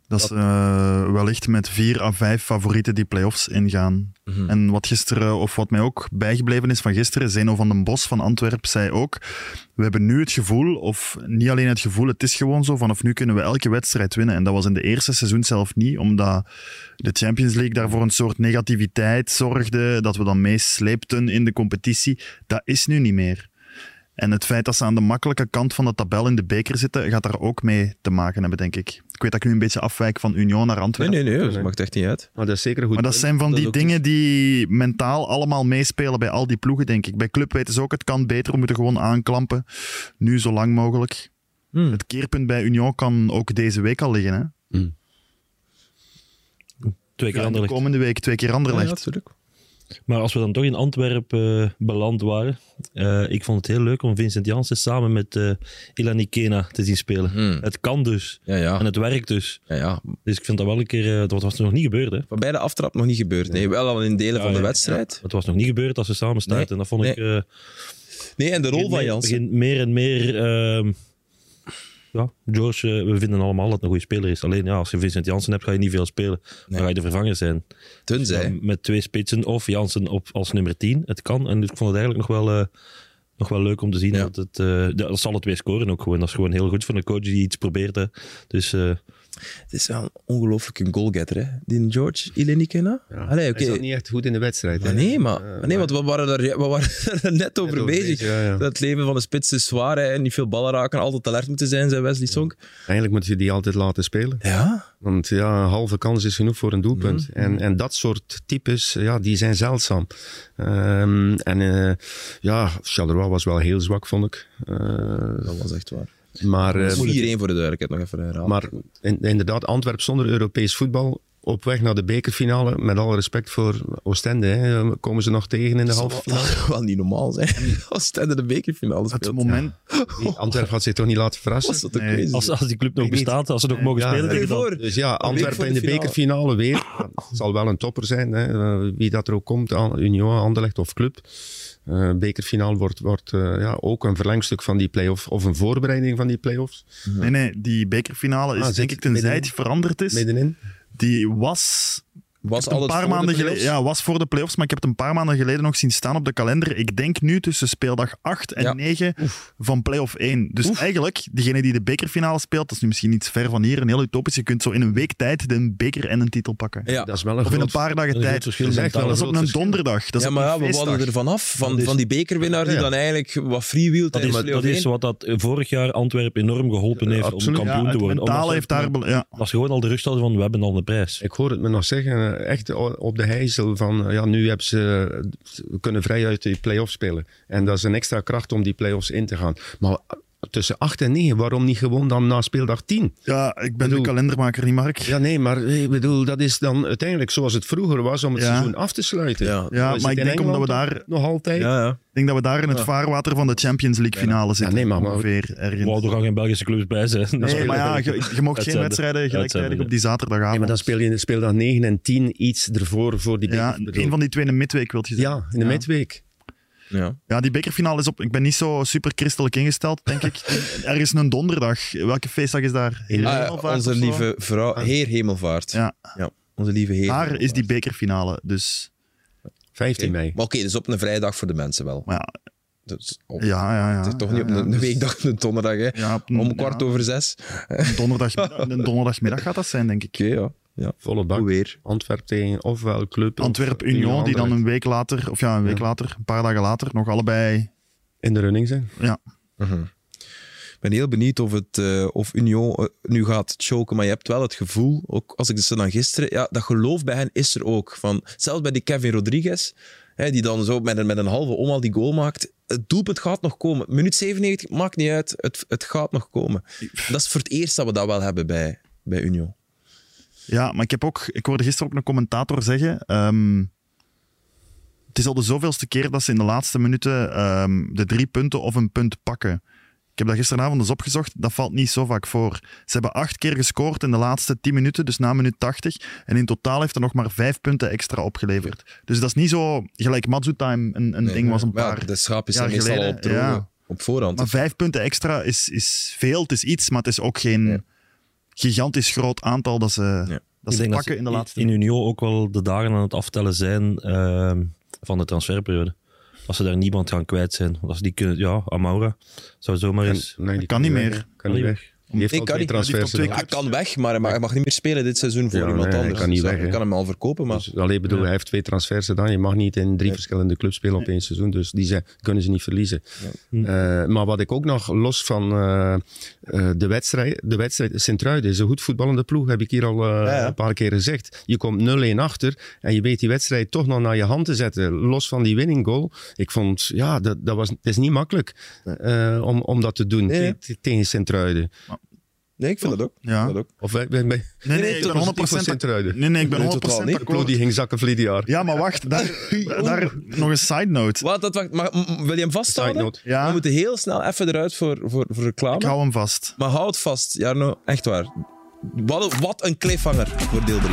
C: Dat ze eh, wellicht met vier à vijf favorieten die play-offs ingaan. En wat gisteren, of wat mij ook bijgebleven is van gisteren, Zeno van den Bos van Antwerp zei ook, we hebben nu het gevoel, of niet alleen het gevoel, het is gewoon zo, vanaf nu kunnen we elke wedstrijd winnen. En dat was in de eerste seizoen zelf niet, omdat de Champions League daarvoor een soort negativiteit zorgde, dat we dan meesleepten in de competitie. Dat is nu niet meer. En het feit dat ze aan de makkelijke kant van de tabel in de beker zitten, gaat daar ook mee te maken hebben, denk ik. Ik weet dat ik nu een beetje afwijk van Union naar
A: Nee,
C: Antwerpen.
A: nee, nee. Dat maakt echt niet uit.
D: Maar dat is zeker een goed.
C: Maar dat zijn van
A: Dat
C: die
A: ook niet.
C: dingen die mentaal allemaal meespelen bij al die ploegen, denk ik. Bij club weten ze ook, het kan beter, we moeten gewoon aanklampen. Nu zo lang mogelijk.
A: Hmm.
C: Het keerpunt bij Union kan ook deze week al liggen. Hè?
B: Twee keer
C: Ja, de
B: Anderlecht.
C: komende week twee keer
A: Ja,
C: Anderlecht.
A: natuurlijk.
B: Maar als we dan toch in Antwerpen eh, beland waren, eh, ik vond het heel leuk om Vincent Janssen samen met eh Ilani Kena te zien spelen.
A: Hmm.
B: Het kan dus.
A: Ja,
B: En
A: ja.
B: het werkt dus.
A: ja, ja.
B: Dus ik vind dat wel een keer... eh, dat was nog niet gebeurd, hè?
A: Waarbij de aftrap nog niet gebeurd. Nee, wel al in delen
B: Ja,
A: van de
B: ja,
A: wedstrijd.
B: Het was nog niet gebeurd als ze samen starten.
A: Nee,
B: dat vond ik... eh,
A: Nee, en de rol van
B: begint
A: Jansen.
B: begint meer en meer. ehm, ja, George, eh, we vinden allemaal dat het een goede speler is. Alleen ja, als je Vincent Jansen hebt, ga je niet veel spelen.
A: Nee.
B: Dan ga je de vervanger zijn.
A: Tenzij.
B: Dan Met twee spitsen of Jansen op, als nummer 10. Het kan. En ik vond het eigenlijk nog wel, eh, nog wel leuk om te zien.
A: Ja.
B: Dat, het, eh, dat- dat zal het weer scoren ook gewoon. Dat is gewoon heel goed voor een coach die iets probeert. hè. Dus eh,
A: Het is wel een ongelooflijke goalgetter, hè? Die George Ilenikena. Allee, oké.
D: Hij zat niet echt goed in de wedstrijd.
A: Maar
D: hè.
A: nee, maar,
D: Eh,
A: maar nee, want we waren daar, we waren er net over
D: over
A: bezig.
D: bezig, ja, ja.
A: Dat leven van de spits is zwaar hè, en niet veel ballen raken. Altijd alert moeten zijn, zei Wesley Song.
D: Eigenlijk moet je die altijd laten spelen.
A: Ja,
D: Want ja, een halve kans is genoeg voor een doelpunt. En, en dat soort types, ja, die zijn zeldzaam. Ehm, en eh, ja, Charleroi was wel heel zwak, vond ik. Eh,
A: dat was echt waar.
D: maar
A: 4-1
D: eh,
A: voor de duidelijkheid, nog even herhalen.
D: maar in- inderdaad, Antwerpen zonder Europees voetbal. Op weg naar de bekerfinale, met alle respect voor Oostende, hè, komen ze nog tegen in de halve
A: dat zal wel- wel niet normaal zijn. Als Stende de bekerfinale speelt.
C: Het moment,
D: finale. Antwerpen had zich toch niet laten verrassen.
A: was dat ook
C: Nee.
A: crazy.
B: als, als die club nog
D: Ik weet
B: bestaat, als ze nog
C: Nee.
B: mogen
D: Ja,
B: spelen
D: stel
A: Stel je
B: tegen dat.
A: voor,
D: Dus ja,
A: week voor
D: Antwerpen
A: de
D: in de
A: finale.
D: bekerfinale weer. Dat zal wel een topper zijn. Hè. Eh, Wie dat er ook komt, Al- Union, Anderlecht of club. Eh bekerfinale wordt, wordt eh, ja, ook een verlengstuk van die play-off. Of een voorbereiding van die play-offs.
C: nee, nee, die bekerfinale is
D: Ah,
C: denk
D: zit
C: ik tenzij
D: middenin.
C: het veranderd is.
D: Middenin.
C: Die was
A: was
C: een
A: altijd
C: paar
A: voor de
C: maanden geleden.
A: playoffs?
C: Ja, was voor de playoffs, maar ik heb het een paar maanden geleden nog zien staan op de kalender. Ik denk nu tussen speeldag 8 en
A: Ja.
C: 9 van playoff 1. Dus eigenlijk, degene die de bekerfinale speelt, dat is nu misschien iets ver van hier, een heel utopisch. Je kunt zo in een week tijd een beker en een titel pakken.
A: Ja.
D: Dat is wel een
C: Of in een
D: groot-
C: paar dagen
B: groot
C: tijd.
B: verschil
C: Dat is
D: mentaal.
C: dat is op
D: Groot
C: een
D: verschil.
C: donderdag. Dat is
A: ja,
C: op
A: maar
C: een
A: ja, we
C: feestdag.
A: wouden er vanaf. Van,
B: is-
A: van die bekerwinnaar die
D: Ja, ja.
A: dan eigenlijk wat freewheelt
B: Dat
A: tijdens
B: is, dat
A: play-off
B: is
A: één.
B: wat dat eh, vorig jaar Antwerpen enorm geholpen heeft
D: Absoluut.
B: om
C: Ja,
B: kampioen te
C: het
B: worden. Omdat
C: mentaal
B: ze-
C: heeft daar... bel- Ja.
B: Als ze gewoon al de rust hadden van, we hebben al een prijs.
D: Ik hoor het me nog zeggen, eh, echt o- op de hijzel van eh, ja, nu hebben ze, eh, ze kunnen vrij uit die play-offs spelen. En dat is een extra kracht om die play-offs in te gaan. Maar tussen 8 en 9. Waarom niet gewoon dan na speeldag 10?
C: Ja, ik ben
D: Bedoel-
C: de kalendermaker niet, Mark.
D: Ja, nee, maar eh, ik bedoel, dat is dan uiteindelijk zoals het vroeger was om het
C: Ja.
D: seizoen af te sluiten.
A: Ja.
D: Zo
C: Ja,
D: is
C: maar
D: het
C: ik
D: in
C: denk omdat we
D: Engeland
C: daar-
D: Nog altijd.
A: Ja, ja.
C: Ik denk dat we daar in het
A: Ja.
C: vaarwater van de Champions League finale zitten.
D: nee, maar- maar-
C: Ongeveer ergens.
B: Wou er gaan geen Belgische clubs bij zijn. Dat is-
C: maar ja, je, je mocht geen
B: Uitzenden.
C: wedstrijden gelijktijdig
B: Uitzenden,
C: op die zaterdagavond.
D: Nee, maar dan speel je in de speeldag 9 en 10 iets ervoor voor die
C: ja,
D: beker-
C: een van die twee in de midweek wil je zeggen.
D: Ja, in de midweek.
A: ja.
C: Ja, die bekerfinale is op... Ik ben niet zo super christelijk ingesteld, denk ik. er is een donderdag. Welke feestdag is daar?
A: Ah,
C: Hemelvaart
A: onze
C: of zo?
A: lieve vrouw, Heer Hemelvaart.
C: Ja.
A: Onze lieve Heer.
C: Daar is die
A: Hemelvaart.
C: bekerfinale, dus...
D: 15 mei.
A: Maar oké, dus op een vrijdag voor de mensen wel.
C: Maar ja,
A: Dus op-
C: ja, ja. ja
A: het is toch
C: ja,
A: niet op
C: ja,
A: een, een
C: dus-
A: weekdag, een donderdag, hè?
C: Ja, op een-
A: Om kwart
C: ja,
A: over zes.
C: Een, donderdag, een donderdagmiddag gaat dat zijn, denk ik.
A: Oké, ja. ja.
D: Volle bak.
A: Hoe weer.
D: Antwerp tegen ofwel Club. of
C: Antwerp
D: tegen
C: Union, die dan
D: Anderlecht.
C: een week later, of ja, een week
D: Ja.
C: later, een paar dagen later, nog allebei.
D: In de running zijn.
A: Ik ben heel benieuwd of, het, eh, of Union eh, nu gaat choken. Maar je hebt wel het gevoel, ook als ik ze dan gisteren... Ja, dat geloof bij hen is er ook. Van, zelfs bij die Kevin Rodriguez, hè, die dan zo met een, met een halve omhaal die goal maakt. Het doelpunt gaat nog komen. Minuut 97, maakt niet uit. Het, het gaat nog komen. Dat is voor het eerst dat we dat wel hebben bij, bij Union.
C: Ja, maar ik heb ook, ik hoorde gisteren ook een commentator zeggen. ehm, het is al de zoveelste keer dat ze in de laatste minuten ehm, de drie punten of een punt pakken. Ik heb dat gisteravond eens opgezocht. Dat valt niet zo vaak voor. Ze hebben acht keer gescoord in de laatste tien minuten, dus na minuut 80. En in totaal heeft er nog maar vijf punten extra opgeleverd. Dus dat is niet zo gelijk Matsutime een, een ding was een
A: Maar ja,
C: paar.
A: de schaap is
C: jaar
A: meestal al
C: geleden,
A: op, droge,
C: ja.
A: op voorhand.
C: Maar vijf punten extra is, is veel, het is iets, maar het is ook geen
A: Ja.
C: gigantisch groot aantal dat ze, dat
B: Ik
C: ze
B: denk
C: pakken
B: dat ze
C: in de laatste.
B: In Union ook wel de dagen aan het aftellen zijn ehm, van de transferperiode. Als ze daar niemand gaan kwijt zijn. Want Als die kunnen, ja, Amaura zou zomaar eens.
D: En- nee, die
C: kan niet
D: weg,
C: meer.
D: hè. Kan niet weg. Die heeft
A: Nee,
D: al
A: kan
D: twee
A: niet.
C: Die heeft
D: transfers
C: al twee
D: gedaan.
A: Hij kan weg, maar hij mag, hij mag niet meer spelen dit seizoen voor
D: Ja,
A: iemand
D: nee, hij
A: anders.
D: kan niet
A: Dus ja,
D: weg,
A: je
D: hè.
A: kan hem al verkopen, maar...
D: Dus, alleen bedoel, hij heeft twee transfers gedaan. Je mag niet in drie verschillende clubs spelen op één seizoen. Dus die zijn, kunnen ze niet verliezen. Eh, maar wat ik ook nog los van eh, eh, de wedstrijd. De wedstrijd Sint-Truiden is een goed voetballende ploeg. Heb ik hier al eh,
A: Ja, ja.
D: een paar keer gezegd. Je komt 0-1 achter. En je weet die wedstrijd toch nog naar je hand te zetten. Los van die winning goal. Ik vond, ja, dat, dat was, het is niet makkelijk eh, om, om dat te doen
A: Nee, nee.
D: te- te- tegen Sint-Truiden.
A: Nee, ik vind dat ook. Ik
C: Ja.
A: vind dat ook.
D: Of eh, wij, wij, wij-
C: Nee, nee, ik
D: toch
C: ben
D: positief
C: 100%
D: voor Sint-Truiden.
C: Nee, nee, ik ben
A: Nee,
C: 100%
A: totaal niet.
D: Die ploeg
C: akkoord.
D: die ging zakken verleden jaar.
C: Ja, maar wacht, daar, daar nog een side note.
A: Wat, dat, wacht, maar, mm, wil je hem
D: Side
A: vasthouden?
D: note.
C: Ja.
A: We moeten heel snel even eruit voor, voor, voor reclame.
C: Ik hou hem vast.
A: Maar houd vast, Jarno. Echt waar. Wat, een- wat een cliffhanger voor deel 3.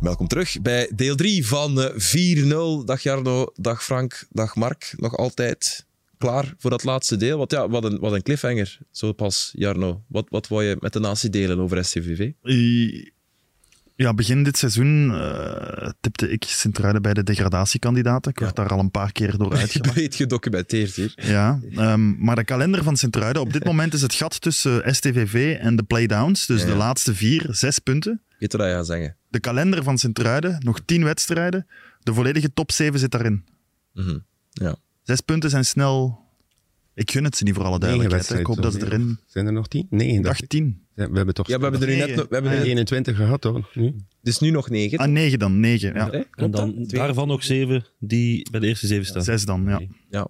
A: Welkom terug bij deel 3 van eh, 4-0. Dag Jarno, dag Frank, dag Mark. Nog altijd klaar voor dat laatste deel. Want ja, wat een, wat een cliffhanger. Zo pas, Jarno. Wat, wat wou je met de natie delen over SCVV?
C: I- Ja, begin dit seizoen eh, tipte ik Sint-Truiden bij de degradatiekandidaten. Ik werd daar al een paar keer door uitgemaakt.
A: Breed gedocumenteerd hier.
C: Ja, ehm, maar de kalender van Sint-Truiden. Op dit moment is het gat tussen STVV en de playdowns. Dus
A: Ja, ja.
C: de laatste vier, zes punten.
A: Weet je wat je gaat zeggen?
C: De kalender van Sint-Truiden, nog tien wedstrijden. De volledige top zeven zit daarin.
A: Mhm. Ja.
C: Zes punten zijn snel... Ik gun het ze niet voor alle
D: Negen
C: duidelijkheid. hè. Ik hoop dat ze
D: wedstrijden,
C: erin...
D: Zijn er nog tien? Nee,
C: Dag
D: dat,
C: tien.
D: Ja, we hebben toch Ah,
A: ja, we hebben er nu net...
C: Negen.
A: nog- We hebben er,
D: 21 gehad, hoor. Nu.
A: dus nu nog negen.
C: Ah, negen dan, negen. Ja.
A: Hè? Klopt
B: En
A: dat?
B: dan
A: Twee.
B: daarvan nog zeven die bij de eerste zeven staan.
C: Zes dan, ja.
A: Ja.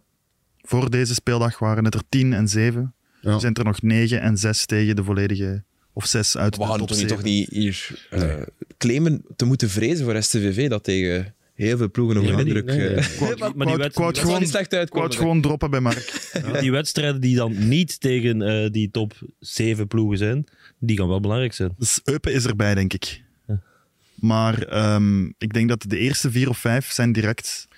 C: Voor deze speeldag waren het er tien en zeven.
D: Ja.
C: Nu zijn het er nog negen en zes tegen de volledige... Of zes uit
A: We
C: de
A: gaan
C: top
A: toch niet,
C: zeven.
A: toch niet hier eh, claimen te moeten vrezen voor STVV dat tegen heel veel ploegen nog
B: Ja,
A: een
B: die-
A: indruk... eh
D: nee, nee.
C: Quote-
B: Maar die wet-
C: quote-
B: die
C: quote
A: Dat zou niet
C: gewoon,
A: slecht uitkomen.
C: quote gewoon droppen bij Mark.
B: Die wedstrijden die dan niet tegen eh, die top zeven ploegen zijn, die gaan wel belangrijk zijn.
C: Dus Eupen is erbij, denk ik. Maar ehm, ik denk dat de eerste vier of vijf zijn direct...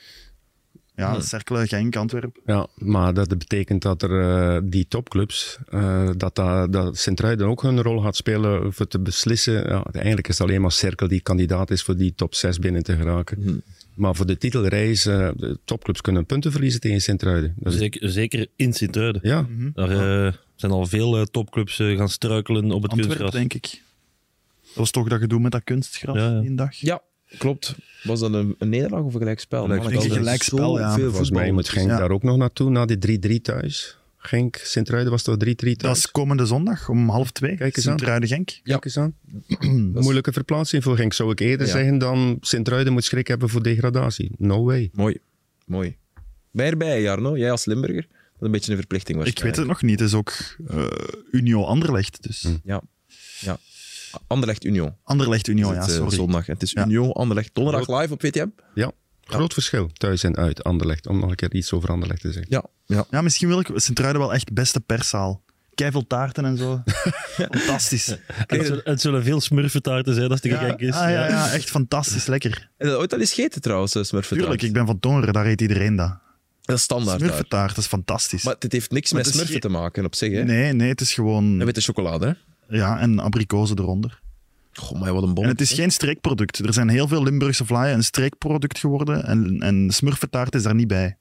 C: Ja, Cercle, Genk, Antwerpen.
D: Ja, maar dat betekent dat er, eh, die topclubs, eh, dat, dat, dat Sint-Truiden ook hun rol gaat spelen voor te beslissen. Ja, eigenlijk is het alleen maar Cirkel die kandidaat is voor die top 6 binnen te geraken. Maar voor de titelreis, eh de topclubs kunnen punten verliezen tegen Sint-Truiden. Dat is-
B: Zeker, zeker in Sint-Truiden.
D: ja,
B: Daar eh, zijn al veel eh, topclubs eh, gaan struikelen op het
C: Antwerpen,
B: kunstgras.
C: denk ik. Dat was toch dat gedoe met dat kunstgras
B: Ja, ja.
C: die dag?
A: Ja, klopt. Was dat een, een nederlaag of een gelijkspel?
D: Gelijkspel.
A: Man, ik
C: Ik denk
A: had
C: gelijkspel,
A: zo
C: ja.
A: veel
D: volgens
A: voetbal.
D: mij moet Genk
C: Ja.
D: daar ook nog naartoe, na die 3-3 thuis. Genk, Sint-Truiden was toch 3-3 thuis?
C: Dat is komende zondag om half twee.
D: Kijk eens aan.
C: Sint-Truiden-Genk.
D: Kijk eens aan. Moeilijke verplaatsing voor Genk, zou ik eerder
A: Ja.
D: zeggen dan Sint-Truiden moet schrik hebben voor degradatie. No way.
A: Mooi. Mooi. Ben je erbij, Jarno? Jij als Limburger? Dat is een beetje een verplichting
C: Ik weet
A: waarschijnlijk.
C: het nog niet. Het is ook eh, Unio Anderlecht. Dus.
A: Ja. ja. Anderlecht Union.
C: Anderlecht
A: is
C: Unio, ja,
A: het, eh,
C: sorry.
A: zondag. Het is
C: Ja.
A: Union, Anderlecht. Donderdag live op VTM.
D: Ja, groot verschil thuis en uit Anderlecht. Om nog een keer iets over Anderlecht te zeggen.
A: Ja. ja.
C: Ja, misschien wil ik Sint-Truiden wel echt beste perszaal. Keivel taarten en zo. fantastisch.
B: Het zullen, het zullen veel smurfetaarten zijn als het
C: Ja,
B: te gek is.
C: ah, ja, ja, echt fantastisch. Lekker.
A: Heb je dat ooit al eens gegeten trouwens, eh, smurfetaart?
C: Tuurlijk, ik ben van Tongeren, daar eet iedereen dat.
A: Dat is standaard daar.
C: Smurfetaart, dat is fantastisch.
A: Maar dit heeft niks
C: Maar
A: met
C: het is
A: smurfen te maken op zich, hè?
C: Nee, nee, het is
A: En
C: gewoon...
A: witte chocolade, hè?
C: Ja, en abrikozen eronder.
A: Goh, maar wat een bom.
C: En het is geen streekproduct. Er zijn heel veel Limburgse vlaaien een streekproduct geworden en, en smurfetaart is daar niet bij.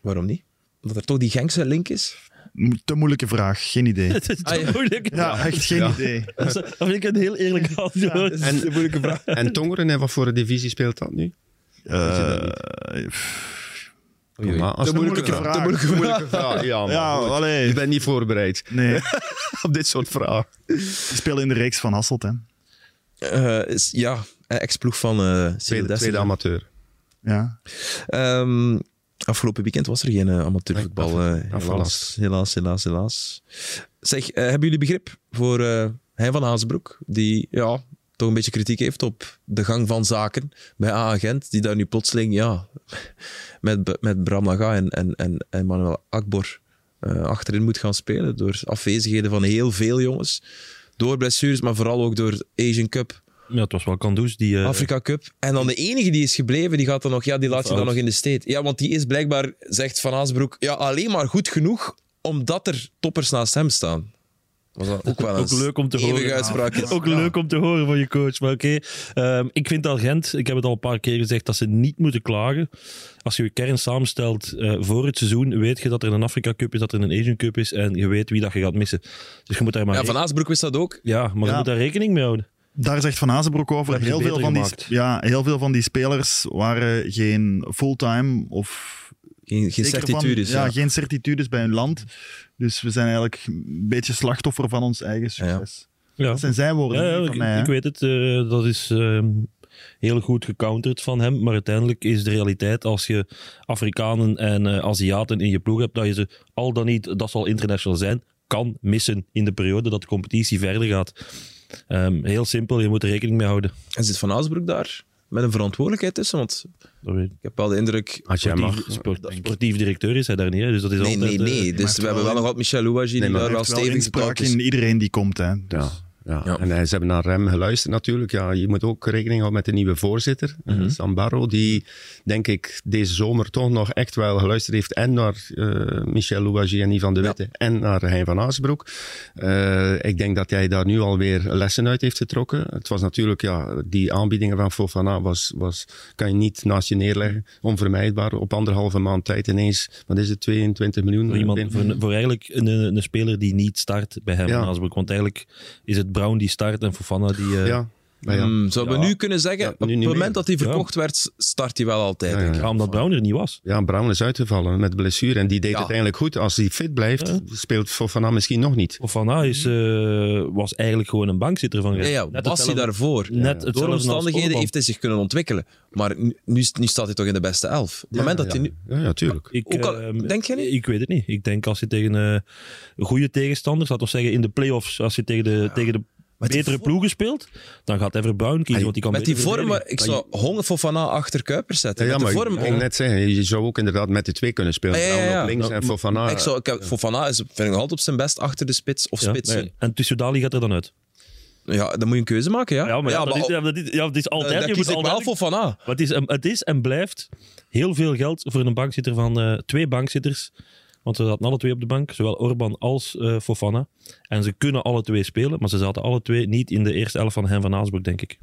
A: Waarom niet? Omdat er toch die gangse link is?
C: Mo- Te moeilijke vraag, geen idee.
B: Het is te
A: Ah, ja.
B: moeilijk.
C: Ja, echt geen idee.
B: Dat is- dat vind ik een heel eerlijk antwoord.
A: is een moeilijke vraag.
D: En Tongeren, en wat voor een divisie speelt dat nu?
C: Eh,
D: Kom maar, als-
C: Te moeilijke vraag.
D: Te moeilijke moeilijke vraag. Ja, man,
C: Ja,
D: goed.
C: allee.
D: Ik ben niet voorbereid
C: nee,
D: op dit soort vragen.
C: die spelen in de reeks van Hasselt, hè.
A: Eh, is- ja, eh, ex-ploeg van eh
D: Tweede,
A: Cyril
D: tweede
A: Dessers.
D: amateur.
C: Ja.
A: Ehm, afgelopen weekend was er geen eh, amateurvoetbal.
D: Nee,
A: eh,
D: af-
A: helaas,
D: afgelast.
A: helaas, helaas, helaas. Zeg, eh, hebben jullie begrip voor eh Hein van Hazenbroek? Die ja, toch een beetje kritiek heeft op de gang van zaken bij A-agent. Die daar nu plotseling ja, met, B- met Bram Laga en, en, en, en Manuel Akbor eh, achterin moet gaan spelen. Door afwezigheden van heel veel jongens. Door blessures, maar vooral ook door Asian Cup.
B: Ja, het was wel Kandus die... eh,
A: Afrika Cup. En dan de enige die is gebleven, die gaat dan nog, ja, die laat je dan
B: oud.
A: nog in de steed. Ja, want die is blijkbaar, zegt Van Aasbroek, ja, alleen maar goed genoeg omdat er toppers naast hem staan. Was dat ook wel
B: Ook
A: eens
B: leuk om te
A: eeuwige
B: horen.
A: uitspraakjes.
B: Ook
A: Ja.
B: leuk om te horen van je coach. Maar oké, ehm, ik vind dat Gent, ik heb het al een paar keer gezegd, dat ze niet moeten klagen. Als je je kern samenstelt eh, voor het seizoen, weet je dat er een Afrika Cup is, dat er een Asian Cup is en je weet wie dat je gaat missen. Dus je moet daar maar,
A: Ja, Van Aasbroek wist dat ook.
B: re- ja, maar
C: Ja.
B: Je moet daar rekening mee houden.
C: Daar zegt Van Hazenbroek over.
B: Dat heb je
C: Heel veel,
B: beter
C: van die,
B: gemaakt.
C: sp- ja, heel veel van die spelers waren geen fulltime of...
A: Geen, geen
C: zeker van-
A: certitudes.
C: ja,
A: ja.
C: geen certitudes bij hun land. Dus we zijn eigenlijk een beetje slachtoffer van ons eigen succes.
B: Ja.
C: Dat zijn zijn woorden,
B: Ja, ja,
C: niet
B: ik,
C: van mij. hè.
B: ik weet het. eh, dat is ehm, heel goed gecounterd van hem. Maar uiteindelijk is de realiteit als je Afrikanen en eh, Aziaten in je ploeg hebt, dat je ze al dan niet, dat zal international zijn, kan missen in de periode dat de competitie verder gaat. Ehm, heel simpel, je moet er rekening mee houden.
A: En zit Van Aasbroek daar met een verantwoordelijkheid tussen? Want
B: Dat weet ik.
A: ik heb wel de indruk...
D: Als jij
B: Sportief,
D: mag.
B: sport- sportief directeur is hij daar niet. hè, Dus dat is
A: Nee,
B: altijd,
A: nee,
B: eh,
A: nee. Dus
C: maakt
A: we hebben
C: wel
A: wel
C: in-
A: nog wat Michel Louagie, die
D: Nee, maar
A: daar
C: Hij
A: wel
C: heeft wel
A: stevig
C: inspraak
A: getrapt is.
C: in iedereen die komt. Hè. Dus
D: Ja, ja.
A: Ja.
D: en eh, ze hebben naar Rem geluisterd natuurlijk. Ja, je moet ook rekening houden met de nieuwe voorzitter, eh,
B: Mhm.
D: Sam Barrow, die denk ik deze zomer toch nog echt wel geluisterd heeft en naar eh, Michel Louagie en Ivan de Witte en naar Hein van Aasbroek. Eh, ik denk dat hij daar nu alweer lessen uit heeft getrokken. Het was natuurlijk, ja, die aanbiedingen van Fofana was, was, kan je niet naast je neerleggen. Onvermijdbaar. Op anderhalve maand tijd ineens, wat is het, 22 miljoen?
B: Voor, iemand,
D: binnen-
B: voor, een- voor eigenlijk een, een speler die niet start bij hem.
D: Ja.
B: Van Haasbroek. Want eigenlijk is het Brown die start en Fofana die... eh,
D: Ja. Maar ja.
A: Mm, zouden we
B: Ja.
A: nu kunnen zeggen,
D: Ja,
A: op het
D: nu niet
A: moment
D: meer.
A: dat hij
B: Ja.
A: verkocht werd, start hij wel altijd.
D: Ja,
A: denk
D: ja,
A: ik.
D: ja.
B: ja, omdat Brown er niet was.
D: Ja, Brown is uitgevallen met blessure. En die deed
A: Ja.
D: het eigenlijk goed. Als hij fit blijft, speelt Fofana misschien nog niet.
B: Fofana is, eh, was eigenlijk gewoon een bankzitter van
A: Mhm. Ja,
B: Gent.
A: ja,
B: Net
A: was hij
B: hetzelfde-
A: daarvoor?
B: Net hetzelfde
A: Door
B: als
A: omstandigheden
B: Orban.
A: heeft hij zich kunnen ontwikkelen. Maar nu, nu staat hij toch in de beste elf. Op het moment dat
D: ja.
A: hij nu...
D: Ja, ja, tuurlijk.
B: Ik,
A: Ook al-
B: ehm,
A: denk jij niet?
B: Ik weet het niet. Ik denk als je tegen eh, goede tegenstanders, laten we zeggen in de play-offs, als je tegen de, tegen de
A: Met die
B: betere
A: vo-
B: ploegen speelt, dan gaat Ever Brown kiezen, want die kan
A: Met die
B: beter
A: vorm,
B: verdedigen.
A: ik zou honger voor Van achter Kuipers zetten.
D: Ja,
A: Met de
D: maar
A: vorm,
D: ik ging net zeggen, je zou ook inderdaad met de twee kunnen spelen.
A: Ja, ja,
D: Brown
A: ja.
D: op links en Fofana.
A: ik zou, ik heb, Fofana is, vind ik nog altijd op zijn best achter de spits of
B: Ja,
A: spits.
B: maar- en Tussudali gaat er dan uit.
A: Ja, dan moet je een keuze maken, ja.
B: Ja, maar, ja, dat is,
A: op-
B: ja, dat is, ja, het is
A: eh,
B: altijd...
A: dan
B: je
A: kies
B: moet
A: ik wel
B: altijd
A: voor Van A.
B: Maar het, is, en- het is en blijft heel veel geld voor een bankzitter van eh, twee bankzitters. Want ze zaten alle twee op de bank, zowel Orban als eh, Fofana. En ze kunnen alle twee spelen, maar ze zaten alle twee niet in de eerste elf van Hen van Aasbroek, denk ik.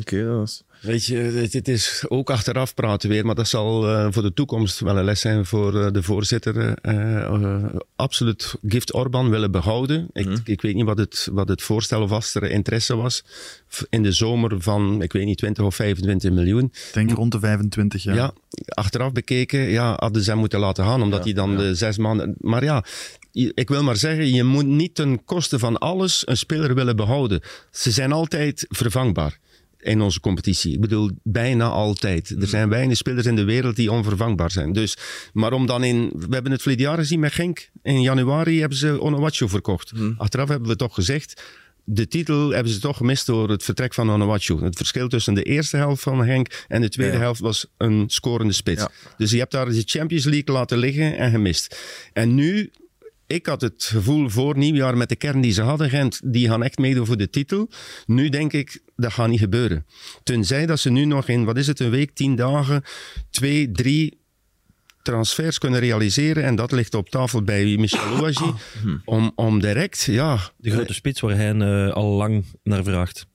A: Oké, dat is...
D: Weet je, dit, dit is ook achteraf praten weer, maar dat zal eh, voor de toekomst wel een les zijn voor eh, de voorzitter. eh, eh, absoluut Gift Orban willen behouden.
A: Mhm.
D: Ik, ik weet niet wat het, wat het voorstel of als er interesse was. F- In de zomer van, ik weet niet, 20 of 25 miljoen.
C: Ik denk rond de 25 jaar.
D: Ja. achteraf bekeken ja, hadden ze hem moeten laten gaan, omdat hij dan de zes maanden... Maar ja, je- ik wil maar zeggen, je moet niet ten koste van alles een speler willen behouden. Ze zijn altijd vervangbaar. in onze competitie. Ik bedoel, bijna altijd. Er zijn weinig spelers in de wereld die onvervangbaar zijn. Dus, maar om dan in... We hebben het verleden jaar gezien met Genk. In januari hebben ze Onowacho verkocht. Achteraf hebben we toch gezegd... De titel hebben ze toch gemist door het vertrek van Onowacho. Het verschil tussen de eerste helft van Henk en de tweede
A: Ja.
D: helft was een scorende spits.
A: Ja.
D: Dus je hebt daar de Champions League laten liggen en gemist. En nu ik had het gevoel voor nieuwjaar met de kern die ze hadden, Gent, die gaan echt meedoen voor de titel. Nu denk ik, dat gaat niet gebeuren. Tenzij dat ze nu nog in, wat is het, een week, tien dagen, twee, drie transfers kunnen realiseren. En dat ligt op tafel bij Michel
A: Ah,
D: Ouagie.
A: hm.
D: Om, om direct, ja,
B: De grote spits waar hij eh, al lang naar vraagt.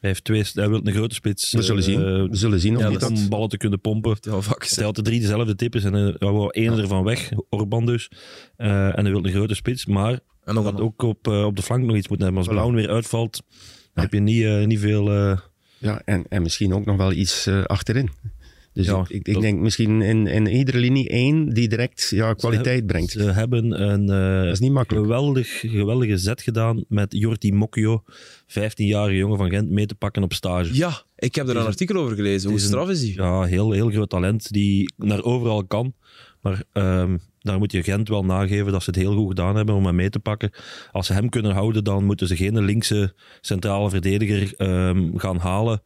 B: Hij, heeft twee, hij wil een grote spits.
D: we zullen
B: eh,
D: zien.
B: eh,
D: we zullen zien of
A: ja,
D: niet
A: dat-
D: dat...
B: om ballen te kunnen pompen.
A: Ja, wel vaak
B: Hij
A: gezegd.
B: had de drie dezelfde types en eh, hij wou één ervan weg, Orban dus. Eh, en hij wil een grote spits, maar
A: En nog
B: had
A: een
B: ook op, eh, op de flank nog iets moeten hebben. Als
D: Voilà.
B: Blauw weer uitvalt, dan heb je niet, eh, niet veel... eh,
D: Ja, en, en misschien ook nog wel iets eh, achterin. Dus
B: Ja,
D: ik, ik, ik
B: dat-
D: denk misschien in, in iedere linie één die direct ja, kwaliteit brengt.
B: Ze hebben een eh,
D: Dat is niet makkelijk.
B: geweldig, geweldige zet gedaan met Jordi Mokio, 15-jarige jongen van Gent, mee te pakken op stage.
A: Ja, ik heb er een artikel over gelezen. Hoe
B: Het een-
A: straf is die?
B: Ja, heel, heel groot talent die naar overal kan. Maar ehm, daar moet je Gent wel nageven dat ze het heel goed gedaan hebben om hem mee te pakken. Als ze hem kunnen houden, dan moeten ze geen linkse centrale verdediger ehm, gaan halen.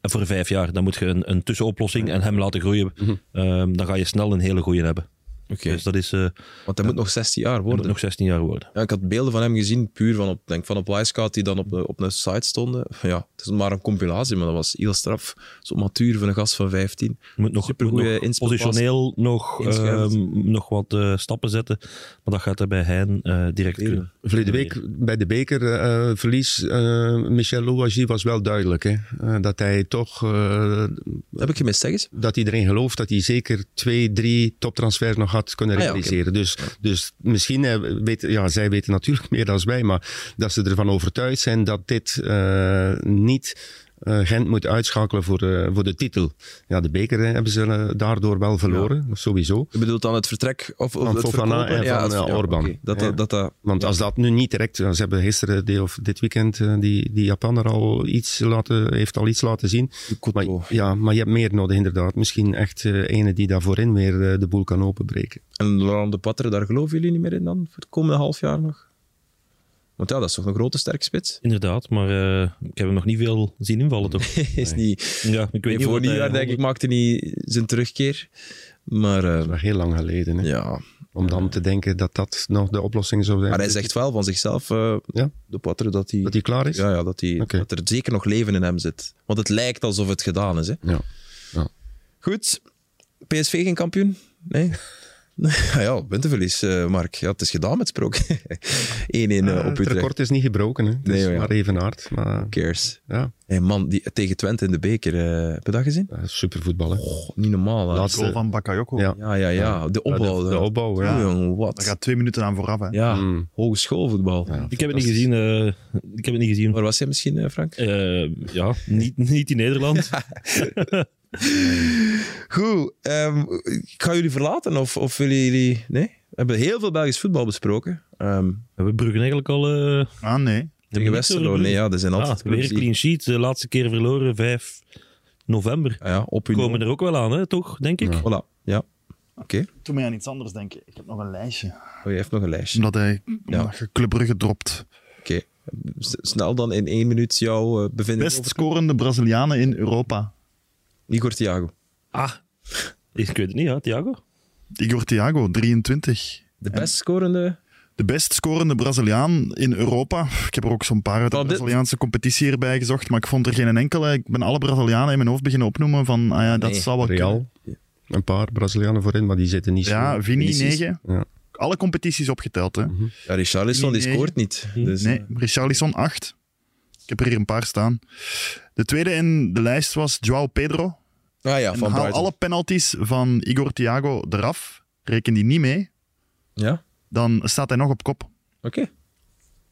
B: En Voor vijf jaar, dan moet je een, een tussenoplossing en hem laten groeien. Ehm, dan ga je snel een hele goeie hebben.
A: Oké.
B: Dus dat is, eh,
A: Want hij moet nog 16 jaar
B: moet
A: worden.
B: nog 16 jaar worden.
A: Ja, ik had beelden van hem gezien, puur van op, denk, van op Wisecout, die dan op, de- op een site stonden. Ja, het is maar een compilatie, maar dat was heel straf. Zo matuur van een gast van 15.
B: Je moet nog,
A: Supergoeie
B: moet nog
A: inspelpas.
B: positioneel nog,
A: Inschuivend.
B: ehm, nog wat eh, stappen zetten. Maar dat gaat er bij hen eh, direct kunnen.
D: Verleden week bij de eh, bekerverlies, eh, Michel Louagie was wel duidelijk. Hè? Eh, dat hij toch, eh,
A: Dat heb ik gemist, zeg eens.
D: dat iedereen gelooft dat hij zeker twee, drie toptransfers nog had kunnen
A: Ah ja, oké.
D: realiseren. dus, dus misschien, eh, weet, ja, zij weten natuurlijk meer dan wij, maar dat ze ervan overtuigd zijn dat dit eh, niet eh, Gent moet uitschakelen voor, eh, voor de titel. Ja, de beker eh, hebben ze eh, daardoor wel verloren, sowieso.
A: Je bedoelt dan het vertrek of, of
D: Van
A: het
D: Fofana
A: verkopen?
D: en van,
A: het-
D: eh, Orban.
A: oké. Dat,
D: Ja.
A: dat, dat, dat-
D: Want als dat nu niet direct, ze hebben gisteren die- of dit weekend eh, die, die Japaner al iets laten, heeft al iets laten zien. Maar,
A: Kutlo.
D: ja, maar je hebt meer nodig inderdaad. Misschien echt eh ene die daarvoor in weer eh, de boel kan openbreken.
A: En Laurent de Patre, daar geloven jullie niet meer in dan? Voor het komende half jaar nog? Want ja, dat is toch een grote sterke spits?
B: Inderdaad, maar eh, ik heb hem nog niet veel zien invallen, toch?
A: Is niet...
B: Ja, ik weet niet eh,
A: voor
B: wat hij-
A: nieuwjaar, denk ik, maakte hij zijn terugkeer. Maar eh,
D: Maar heel lang geleden. Hè?
A: ja,
D: Om dan te denken dat dat nog de oplossing zou zijn.
A: Maar hij zegt wel van zichzelf, eh,
D: Ja?
A: de Poitre, dat hij,
D: Dat hij klaar is?
A: ja, ja, dat, hij,
D: Oké.
A: dat er zeker nog leven in hem zit. Want het lijkt alsof het gedaan is. Hè.
D: Ja.
A: Goed, PSV geen kampioen? Nee? ja, ja, puntenverlies, eh, Mark. Ja, het is gedaan met Sprook. 1-1 eh,
D: Ah,
A: op
D: het
A: Utrecht.
D: record is niet gebroken. Hè? Dus
A: Nee, ja.
D: maar even hard. Maar
A: Cares.
D: ja,
A: Hey, man, die, tegen Twente in de beker, eh, heb je dat gezien?
D: dat is super voetbal. Hè?
A: Goh, niet normaal. hè.
D: Laatste-
C: goal van Bakayoko.
D: Ja.
A: Ja, ja, ja. De opbouw.
D: de,
A: hè.
D: de opbouw, ja.
A: Oeh,
C: ja.
A: jongen,
C: Daar
A: wat?
C: gaat twee minuten aan vooraf. Hè.
A: Ja,
D: Mm.
A: hogeschoolvoetbal.
B: Ik heb het niet gezien. eh, ik heb het niet gezien.
A: Waar was jij misschien, eh, Frank?
B: Eh, ja, niet, niet in Nederland.
A: Goed, ehm, ik ga jullie verlaten of, of willen jullie... Nee? We hebben heel veel Belgisch voetbal besproken. Ehm
B: Hebben we Brugge eigenlijk al... eh,
C: Ah, nee.
A: tegen Westerlo, oh, nee, ja, er zijn
B: Ah,
A: altijd clubs
B: weer
A: die-
B: clean sheet. De laatste keer verloren, 5 november.
A: Ah ja, op hun...
B: Komen er ook wel aan, hè, toch? Denk ik.
A: Voilà, ja. Oké,
C: Toen mij aan iets anders denken. Ik heb nog een lijstje.
A: oh, je hebt nog een lijstje.
C: Omdat hij omdat je Club Brugge dropt.
A: Oké, S- snel dan in één minuut jouw eh, bevinding
C: Best
A: over
C: scorende Brazilianen in Europa.
A: Igor Thiago.
B: Ah, ik weet het niet, hè, Thiago?
C: Igor Thiago, 23.
A: De best scorende...
C: De best scorende Braziliaan in Europa. Ik heb er ook zo'n paar uit de
A: Wel, dit-
C: Braziliaanse competitie hierbij gezocht, maar ik vond er geen enkele. Ik ben alle Brazilianen in mijn hoofd beginnen opnoemen van, ah ja, dat
A: Nee,
C: zal wel kunnen.
D: Real. Een paar Brazilianen voorin, maar die zitten niet
C: Ja,
D: zo.
C: Vini,
D: Vinicius.
C: 9.
D: Ja. Mhm.
C: Alle competities opgeteld, hè.
A: Ja, Richarlison, die
C: Nee, nee.
A: scoort niet. Dus,
C: Nee, Richarlison 8. Ik heb er hier een paar staan. De tweede in de lijst was Joao Pedro.
A: Ah ja,
C: En
A: van
C: haal
A: Brighton.
C: alle penalties van Igor Thiago eraf. Reken die niet mee.
A: Ja,
C: Dan staat hij nog op kop.
A: oké.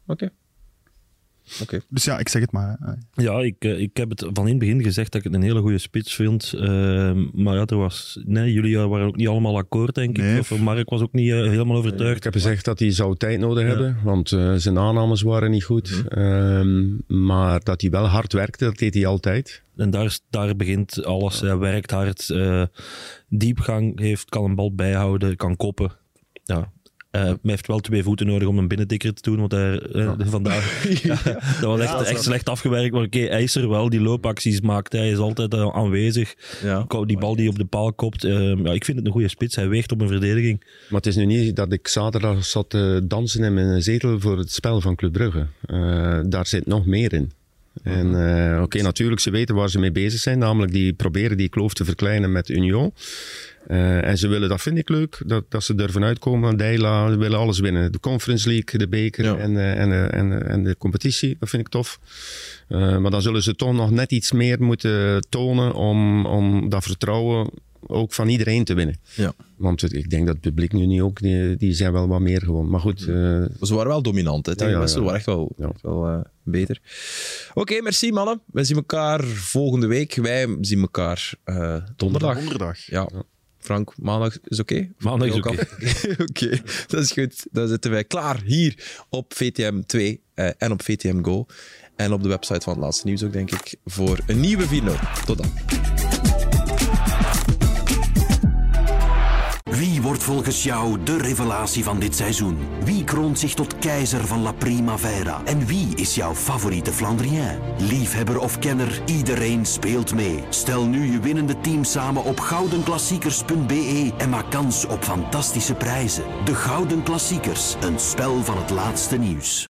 A: Oké. Oké.
C: Dus ja, ik zeg het maar. hè.
B: Ja, ik, eh, ik heb het van in het begin gezegd dat ik het een hele goede spits vind. Ehm, maar ja, er was, nee, jullie eh, waren ook niet allemaal akkoord, denk ik.
C: Nee.
B: Of Mark was ook niet eh, helemaal overtuigd.
D: Ik heb gezegd dat hij zou tijd nodig hebben, want eh, zijn aannames waren niet goed. Ehm, maar dat hij wel hard werkte, dat deed hij altijd.
B: En daar, is- daar begint alles. Hij werkt hard, eh, diepgang heeft, kan een bal bijhouden, kan koppen. Ja. Eh, maar hij heeft wel twee voeten nodig om een binnendikker te doen, want hij, eh, vandaag ja, dat was echt, echt slecht afgewerkt. Maar oké, hij is er wel, die loopacties maakt hij, is altijd eh, aanwezig.
A: Ja.
B: Ko- Die bal die op de paal kopt, eh, ja, ik vind het een goede spits. Hij weegt op een verdediging.
D: Maar het is nu niet dat ik zaterdag zat te dansen in mijn zetel voor het spel van Club Brugge. Eh, daar zit nog meer in. En eh, oké, natuurlijk, ze weten waar ze mee bezig zijn. Namelijk, die proberen die kloof te verkleinen met Union. Eh, en ze willen, dat vind ik leuk, dat, dat ze durven uitkomen. Deila, ze willen alles winnen. De Conference League, de beker
A: Ja.
D: en, eh, en, eh, en, eh, en de competitie. Dat vind ik tof. Eh, maar dan zullen ze toch nog net iets meer moeten tonen om, om dat vertrouwen ook van iedereen te winnen.
A: Ja.
D: Want het- ik denk dat het publiek nu niet ook, die, die zijn wel wat meer gewoon. Maar goed, eh,
A: Ze waren wel dominant. Hè, tegen
D: Ja, ja,
A: Westerlo.
D: ja.
A: Ze waren echt wel,
D: Ja.
A: echt wel eh, beter. Oké, merci mannen. We zien elkaar volgende week. Wij zien elkaar eh, donderdag.
C: Donderdag.
A: Ja. Frank, maandag is oké? Of
B: Maandag is
A: ook af? Oké, dat is goed. Dan zitten wij klaar hier op VTM 2 eh, en op VTM Go. En op de website van het laatste nieuws ook, denk ik, voor een nieuwe video. Tot dan.
E: Wie wordt volgens jou de revelatie van dit seizoen? Wie kroont zich tot keizer van La Primavera? En wie is jouw favoriete Flandrien? Liefhebber of kenner, iedereen speelt mee. Stel nu je winnende team samen op goudenklassiekers.be en maak kans op fantastische prijzen. De Gouden Klassiekers, een spel van het laatste nieuws.